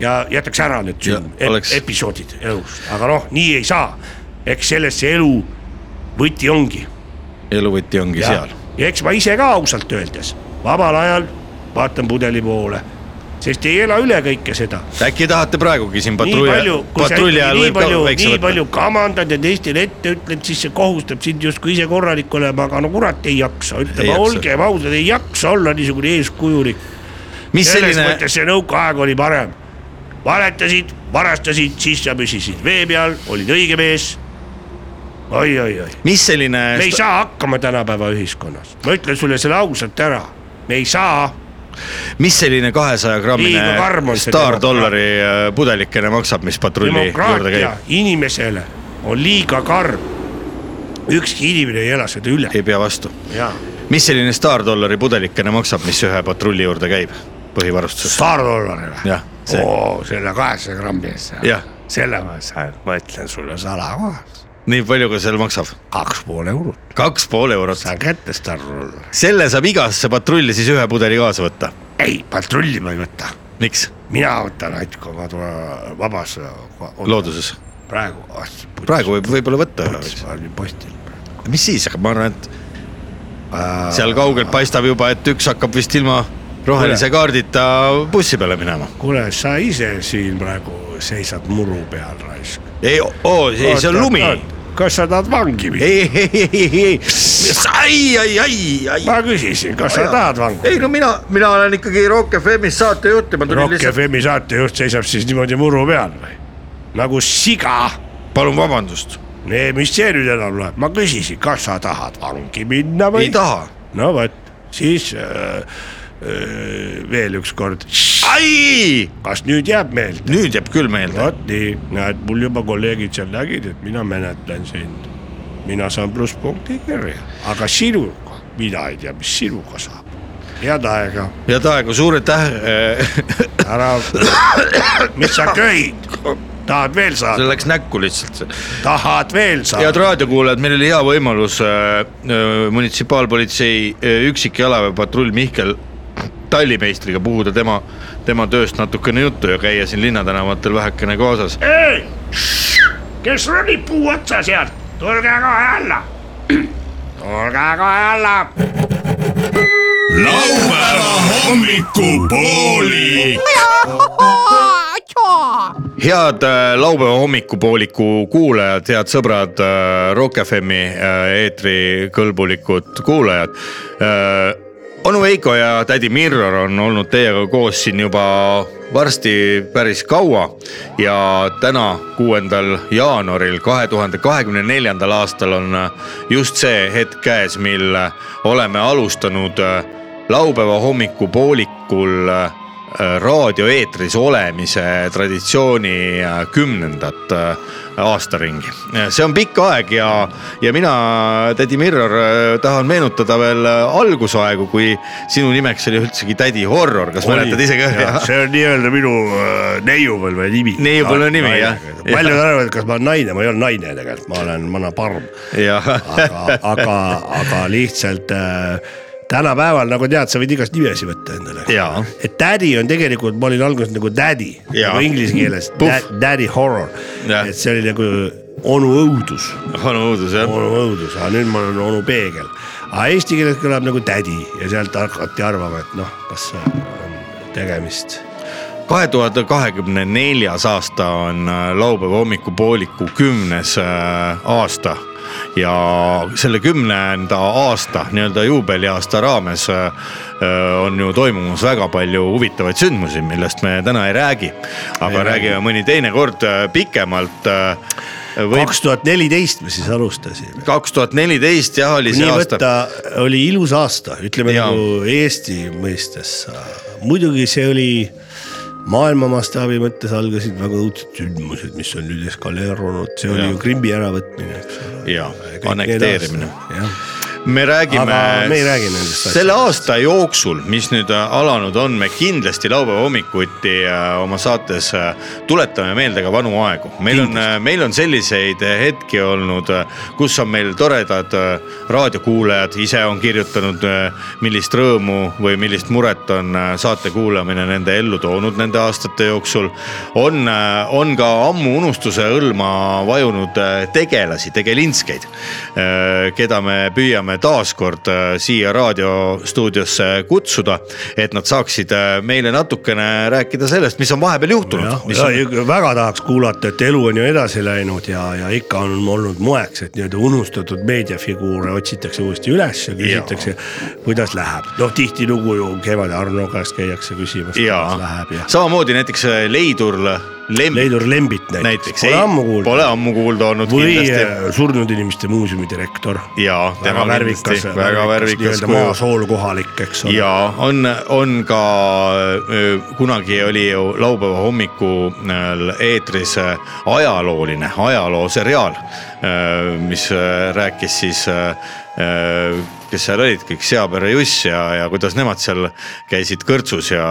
Speaker 2: ja jätaks ära need
Speaker 1: Ja
Speaker 2: sünd- ep,
Speaker 1: oleks-
Speaker 2: oleks... episoodid elus , aga noh , nii ei saa . eks selles see elu võti ongi .
Speaker 1: eluvõti ongi ja. seal .
Speaker 2: ja eks ma ise ka ausalt öeldes vabal ajal vaatan pudeli poole , sest ei ela üle kõike seda
Speaker 1: äkki tahate praegugi siin
Speaker 2: nii palju
Speaker 1: patrulli ,,
Speaker 2: kui sa
Speaker 1: patrulli
Speaker 2: ikkagi
Speaker 1: ajal
Speaker 2: nii
Speaker 1: võib ka
Speaker 2: palju ,
Speaker 1: väikse
Speaker 2: nii
Speaker 1: võtta
Speaker 2: palju ? kamandad ja teistele ette ütled , siis see kohustab sind justkui ise korralik olema , aga no kurat ei jaksa ,
Speaker 1: Ei
Speaker 2: ütleme
Speaker 1: jaksa.
Speaker 2: olgem ausad , ei jaksa olla niisugune eeskujulik .
Speaker 1: mis
Speaker 2: selles selline...
Speaker 1: selline ,
Speaker 2: mõttes see nõukaaeg oli parem . valetasid , varastasid , siis sa püsisid vee peal , olid õige mees oi, . oi-oi-oi ,
Speaker 1: mis selline
Speaker 2: me ei saa hakkama tänapäeva ühiskonnas , ma ütlen sulle selle ausalt ära , me ei saa
Speaker 1: mis selline kahesaja
Speaker 2: Liiga karm
Speaker 1: grammine
Speaker 2: on see
Speaker 1: staardollari äh, pudelikene maksab , mis patrulli juurde
Speaker 2: demokraatia
Speaker 1: käib ?
Speaker 2: inimesele on liiga karm . ükski inimene ei ela seda üle .
Speaker 1: ei pea vastu .
Speaker 2: jaa .
Speaker 1: mis selline staardollari pudelikene maksab , mis ühe patrulli juurde käib põhivarustuses ?
Speaker 2: staardollarile .
Speaker 1: Jah, see.
Speaker 2: oo , selle kaheksasaja grammi eest
Speaker 1: Jah. .
Speaker 2: selle ma sain , ma ütlen sulle salakohas ,
Speaker 1: nii palju , kui seal maksab ?
Speaker 2: kaks pool eurot ,
Speaker 1: kaks pool eurot .
Speaker 2: saan kätte staardollari .
Speaker 1: selle saab igasse patrulli siis ühe pudeli kaasa võtta .
Speaker 2: ei , patrulli ma ei võta ,
Speaker 1: miks ?
Speaker 2: mina võtan ainult , kui ma tulen vabasse .
Speaker 1: looduses .
Speaker 2: praegu .
Speaker 1: praegu võib võib-olla võtta ühe võiks .
Speaker 2: ma olin postil .
Speaker 1: mis siis , aga ma arvan , et
Speaker 2: Äh,
Speaker 1: seal kaugelt paistab juba , et üks hakkab vist ilma rohelise kaardita bussi peale minema .
Speaker 2: kuule , sa ise siin praegu seisad muru peal raisk .
Speaker 1: ei , oo , ei see on lumi .
Speaker 2: kas sa tahad vangi minna ?
Speaker 1: ei , ei , ei , ei , ei , ai , ai , ai , ai .
Speaker 2: ma küsisin , kas sa tahad vangi ?
Speaker 1: ei no mina , mina olen ikkagi Rock FM-is saatejuht ja ma tulin
Speaker 2: Rock
Speaker 1: lihtsalt .
Speaker 2: FM-i saatejuht seisab siis niimoodi muru peal või ? nagu siga .
Speaker 1: palun vabandust .
Speaker 2: nee, . mis see nüüd enam loeb , ma küsisin , kas sa tahad vangi minna või ?
Speaker 1: ei . taha .
Speaker 2: no vot , siis äh, äh, veel üks kord ,
Speaker 1: ai ,
Speaker 2: kas nüüd jääb meelde ?
Speaker 1: nüüd jääb küll meelde .
Speaker 2: vot nii , näed , mul juba kolleegid seal nägid , et mina menetlen sind . mina saan plusspunkti kirja , aga sinuga , mina ei tea , mis sinuga saab . head aega ,
Speaker 1: head aega , suur aitäh .
Speaker 2: ära , mis sa köid , tahad veel
Speaker 1: see
Speaker 2: saada ,
Speaker 1: läks näkku lihtsalt .
Speaker 2: tahad veel
Speaker 1: head
Speaker 2: saada ,
Speaker 1: raadiokuulajad , meil oli hea võimalus äh, äh, munitsipaalpolitsei äh, üksik jalaväepatrull Mihkel tallimeistriga puhuda tema , tema tööst natukene juttu ja käia siin linnatänavatel vähekene kaasas .
Speaker 2: kes ronib puu otsa sealt , tulge kohe alla , tulge kohe alla
Speaker 4: laupäeva hommikupooli .
Speaker 1: head äh, laupäeva hommikupooliku kuulajad , head sõbrad , Rock FM-i äh, eetrikõlbulikud kuulajad . onu Veiko ja tädi Mirror on olnud teiega koos siin juba varsti päris kaua ja täna , kuuendal jaanuaril kahe tuhande kahekümne neljandal aastal on äh, just see hetk käes , mil äh, oleme alustanud äh, laupäeva hommikupoolikul äh, äh, raadioeetris olemise traditsiooni äh, kümnendat äh, aastaringi . see on pikk aeg ja , ja mina , tädi Mirror , tahan meenutada veel äh, algusaegu , kui sinu nimeks oli üldsegi tädi Horror , kas mäletad ise ka ?
Speaker 2: see on nii-öelda minu äh, neiupõlve nimi .
Speaker 1: Neiupõlve nimi, jah.
Speaker 2: paljud arvavad , et kas ma olen naine , ma ei ole naine tegelikult , ma olen vanaparm .
Speaker 1: jah ,
Speaker 2: aga , aga , aga lihtsalt äh, tänapäeval nagu tead , sa võid igast nimesi võtta endale .
Speaker 1: Jaa.
Speaker 2: et daddy on tegelikult , ma olin alguses nagu daddy ,
Speaker 1: Jaa.
Speaker 2: nagu inglise keeles
Speaker 1: Puff. ,
Speaker 2: daddy horror .
Speaker 1: Jah.
Speaker 2: et see oli nagu onu õudus
Speaker 1: vana õudus jah .
Speaker 2: onu õudus , aga nüüd ma olen onu peegel . aga eesti keeles kõlab nagu tädi ja sealt hakati arvama , et noh , kas on tegemist .
Speaker 1: kahe tuhande kahekümne neljas aasta on äh, laupäeva hommikupooliku kümnes äh, aasta ja selle kümnenda aasta nii-öelda juubeliaasta raames äh, äh, on ju toimumas väga palju huvitavaid sündmusi , millest me täna ei räägi . aga ei räägime räägi. mõni teine kord äh, pikemalt äh, või
Speaker 2: kaks tuhat neliteist me siis alustasime .
Speaker 1: kaks tuhat neliteist jah , oli see
Speaker 2: nii
Speaker 1: aasta .
Speaker 2: võtta , oli ilus aasta , ütleme
Speaker 1: Jaa.
Speaker 2: nagu Eesti mõistes . muidugi see oli maailma mastaabi mõttes algasid väga õudsed sündmused , mis on nüüd eskaleerunud , see oli
Speaker 1: Jaa.
Speaker 2: ju Krimmi äravõtmine , eks ole .
Speaker 1: ja annekteerimine .
Speaker 2: jah
Speaker 1: me räägime .
Speaker 2: Aga me ei räägi nendest
Speaker 1: selle aasta jooksul , mis nüüd äh, alanud on , me kindlasti laupäeva hommikuti äh, oma saates äh, tuletame meelde ka vanu aegu . meil on , meil on selliseid äh, hetki olnud , kus on meil toredad äh, raadiokuulajad , ise on kirjutanud , millist rõõmu või millist muret on äh, saate kuulamine nende ellu toonud nende aastate jooksul . on , on ka ammu unustuse hõlma vajunud äh, tegelasi , tegelinskeid , keda me püüame taaskord äh, siia raadiostuudiosse kutsuda , et nad saaksid äh, meile natukene rääkida sellest , mis on vahepeal juhtunud .
Speaker 2: jah , ja väga tahaks kuulata , et elu on ju edasi läinud ja , ja ikka on olnud moeks , et nii-öelda unustatud meediafiguure otsitakse uuesti üles ja küsitakse , kuidas läheb . noh , tihtilugu ju kevadel Arno käest käiakse küsimas ,
Speaker 1: ja
Speaker 2: kuidas läheb ja .
Speaker 1: samamoodi näiteks äh, Leidur Lembi
Speaker 2: Leidur Lembit näiteks,
Speaker 1: näiteks
Speaker 2: näiteks. , pole ammu
Speaker 1: pole
Speaker 2: kuulda .
Speaker 1: ammu kuulda olnud
Speaker 2: või
Speaker 1: kindlasti
Speaker 2: äh, Surnud Inimeste Muuseumi direktor .
Speaker 1: ja
Speaker 2: väga värvikas ,
Speaker 1: väga värvikas
Speaker 2: nii-öelda
Speaker 1: kuju
Speaker 2: maasool kohalik , eks ole .
Speaker 1: ja on , on ka , kunagi oli ju laupäeva hommikul eetris äh, ajalooline ajalooseriaal , mis äh, rääkis siis äh, äh, kes seal olid kõik , Seapere Juss ja , ja kuidas nemad seal käisid kõrtsus ja ,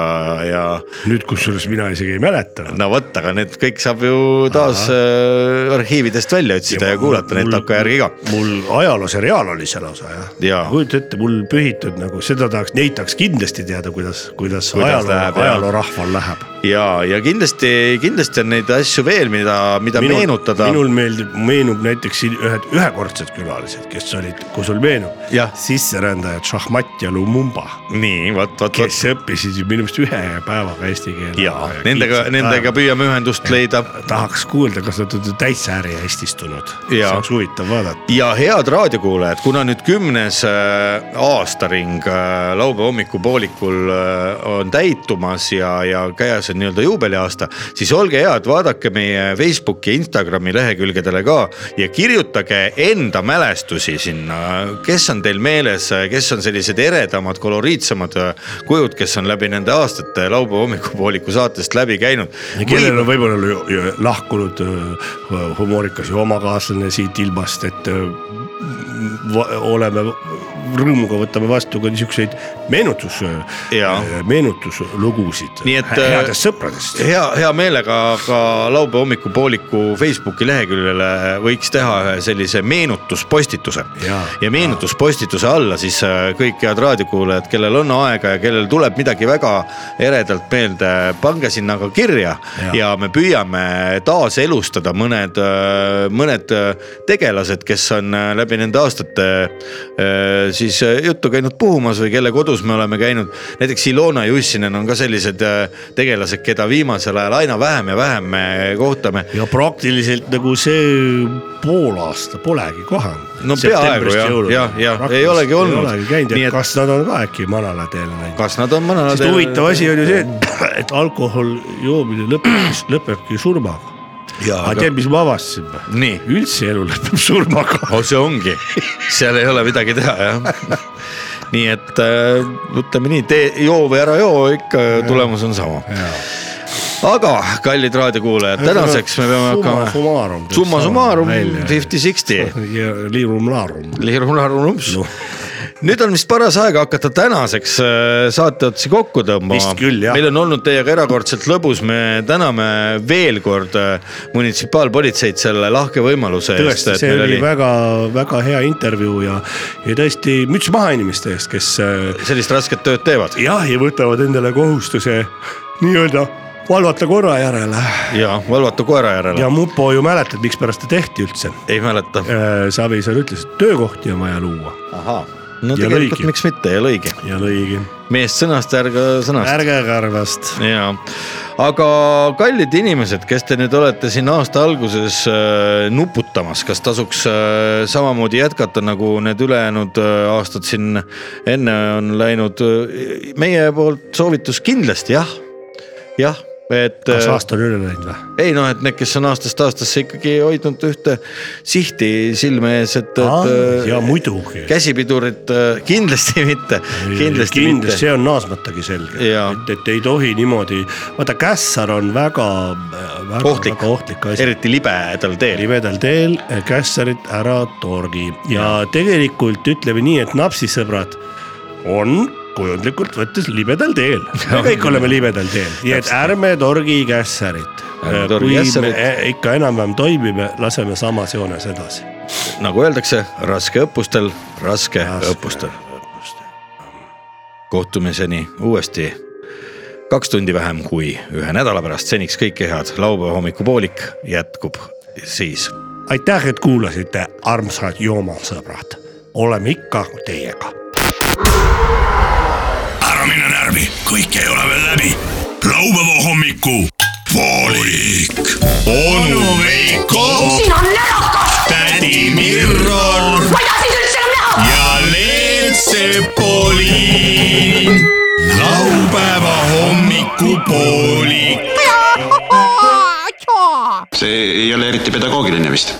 Speaker 1: ja
Speaker 2: nüüd , kusjuures mina isegi ei mäleta .
Speaker 1: no vot , aga need kõik saab ju taas äh, arhiividest välja otsida ja, ja kuulata neid takkajärgi ka .
Speaker 2: mul ajalooseriaal oli see lausa
Speaker 1: Jaa.
Speaker 2: jah . kujuta ette , mul pühitud nagu seda tahaks , neid tahaks kindlasti teada , kuidas ,
Speaker 1: Kuidas
Speaker 2: kuidas, kuidas ajaloo
Speaker 1: läheb, , jah.
Speaker 2: ajaloorahval läheb .
Speaker 1: ja , ja kindlasti , kindlasti on neid asju veel , mida , mida minul, meenutada .
Speaker 2: minul meeldib , meenub näiteks siin ühed ühekordsed külalised , kes olid , kui sul meenub
Speaker 1: Jah. ,
Speaker 2: sisserändajad Šahmat ja Lumumba ,
Speaker 1: nii vot , vot , vot
Speaker 2: kes . õppisid ju minu meelest ühe päevaga eesti keele .
Speaker 1: ja nendega , nendega . püüame ühendust leida
Speaker 2: tahaks kuulda , kas nad on täitsa äri eestistunud , see
Speaker 1: Jaa.
Speaker 2: oleks huvitav vaadata .
Speaker 1: ja head raadiokuulajad , kuna nüüd kümnes äh, aastaring äh, laupäeva hommikupoolikul äh, on täitumas ja , ja käes on nii-öelda juubeliaasta , siis olge head , vaadake meie Facebooki , Instagrami lehekülgedele ka ja kirjutage enda mälestusi sinna , kes on teil meeles , kes on sellised eredamad , koloriitsemad äh, kujud , kes on läbi nende aastate laupäeva hommikupooliku saatest läbi käinud .
Speaker 2: ja kellel on võib-olla ju, ju lahkunud öö, humoorikas ju omakaaslane siit ilmast , et öö, va- oleme , rõõmuga võtame vastu ka niisuguseid meenutus ,
Speaker 1: Jaa.
Speaker 2: meenutuslugusid
Speaker 1: Nii et, äh,
Speaker 2: hä- headest sõpradest .
Speaker 1: hea , hea meelega ka laupäeva hommikupooliku Facebooki leheküljele võiks teha ühe sellise meenutuspostituse .
Speaker 2: Jaa.
Speaker 1: ja meenutuspostituse alla siis äh, kõik head raadiokuulajad , kellel on aega ja kellel tuleb midagi väga eredalt meelde , pange sinna ka kirja ja,
Speaker 2: Jaa.
Speaker 1: ja me püüame taaselustada mõned , mõned äh, tegelased , kes on äh, läbi nende aastate äh, siis äh, juttu käinud puhumas või kelle kodus me oleme käinud . näiteks Ilona Jussinen on ka sellised äh, tegelased , keda viimasel ajal aina vähem ja vähem me kohtame .
Speaker 2: ja praktiliselt nagu see pool aasta polegi kohanud .
Speaker 1: No peaaegu, jah, jah, jah, ei olegi olnud.
Speaker 2: ei olegi käinud ,
Speaker 1: Nii
Speaker 2: et
Speaker 1: et-
Speaker 2: kas nad on ka äkki manala teel läinud ?
Speaker 1: kas nad on mõnel
Speaker 2: sest huvitav asi on ju see , et , et alkohol joomine lõpeb , lõpebki surmaga . aga tead , mis me avastasime ?
Speaker 1: Nii.
Speaker 2: üldse elu lõpeb surmaga .
Speaker 1: oh, see ongi , seal ei ole midagi teha jah . nii et äh, ütleme nii , tee , joo või ära joo , ikka tulemus on sama . aga kallid raadiokuulajad , tänaseks me peame hakkama .
Speaker 2: summarum .
Speaker 1: summa summarum fifty-sixty .
Speaker 2: ja liirum laarum .
Speaker 1: liirum-laarum-lumps
Speaker 2: Noh. .
Speaker 1: nüüd on vist paras aeg hakata tänaseks äh, saateotsi kokku tõmbama
Speaker 2: Vist küll, jah. .
Speaker 1: meil on olnud teiega erakordselt lõbus , me täname veel kord äh, munitsipaalpolitseid selle lahke võimaluse eest
Speaker 2: tõesti ,. see oli
Speaker 1: Oli...
Speaker 2: väga-väga hea intervjuu ja , ja tõesti müts maha inimeste eest , kes äh,
Speaker 1: sellist rasket tööd teevad
Speaker 2: jah , ja võtavad endale kohustuse nii-öelda valvata korra järele .
Speaker 1: ja valvatu koera järele
Speaker 2: ja . mupo ju mäletad , mikspärast ta tehti üldse . Äh,
Speaker 1: ei mäleta .
Speaker 2: Savisaar ütles , et töökohti on vaja luua
Speaker 1: ahah , no
Speaker 2: Ja
Speaker 1: tegelikult
Speaker 2: lõigi.
Speaker 1: miks mitte ja lõigi .
Speaker 2: ja lõigi .
Speaker 1: meest sõnast , ärge sõnast .
Speaker 2: ärge karvast .
Speaker 1: ja , aga kallid inimesed , kes te nüüd olete siin aasta alguses äh, nuputamas , kas tasuks äh, samamoodi jätkata , nagu need ülejäänud äh, aastad siin enne on läinud ? meie poolt soovitus kindlasti jah , jah , et . äh,
Speaker 2: kas aasta on üle läinud või ?
Speaker 1: ei noh , et need , kes on aastast aastasse ikkagi hoidnud ühte sihti silme ees , et,
Speaker 2: Aa,
Speaker 1: et .
Speaker 2: ja Ah, muidugi.
Speaker 1: käsipidurit äh, kindlasti mitte , kindlasti,
Speaker 2: kindlasti ,
Speaker 1: kindlasti mitte .
Speaker 2: see on naasmatagi selge ,
Speaker 1: Jaa.
Speaker 2: et , et ei tohi niimoodi , vaata kässar on väga, väga ,
Speaker 1: Ohtlik.
Speaker 2: väga ohtlik asi .
Speaker 1: eriti libedal teel .
Speaker 2: libedal teel eh, kässarit ära torgi ja tegelikult ütleme nii , et napsisõbrad on kujundlikult võttes libedal teel . me kõik oleme libedal teel , nii et ärme torgi kässarit .
Speaker 1: Ärme torgi
Speaker 2: kui me
Speaker 1: kässarit.
Speaker 2: e- ikka enam-vähem toimime , laseme samas joones edasi .
Speaker 1: nagu öeldakse , raske õppustel , raske õppustel . kohtumiseni uuesti kaks tundi vähem kui ühe nädala pärast , seniks kõike head , laupäeva hommikupoolik jätkub siis .
Speaker 2: aitäh , et kuulasite , armsad joomasõbrad , oleme ikka teiega
Speaker 3: ära mine närvi , kõik ei ole veel läbi . laupäeva hommiku poolik . onu Veiko ,
Speaker 7: siin on närakas ,
Speaker 3: tädi Mirror
Speaker 7: ma ei taha sind üldse enam näha .
Speaker 3: ja Leelsepoliin . laupäeva hommiku poolik .
Speaker 8: see ei ole eriti pedagoogiline vist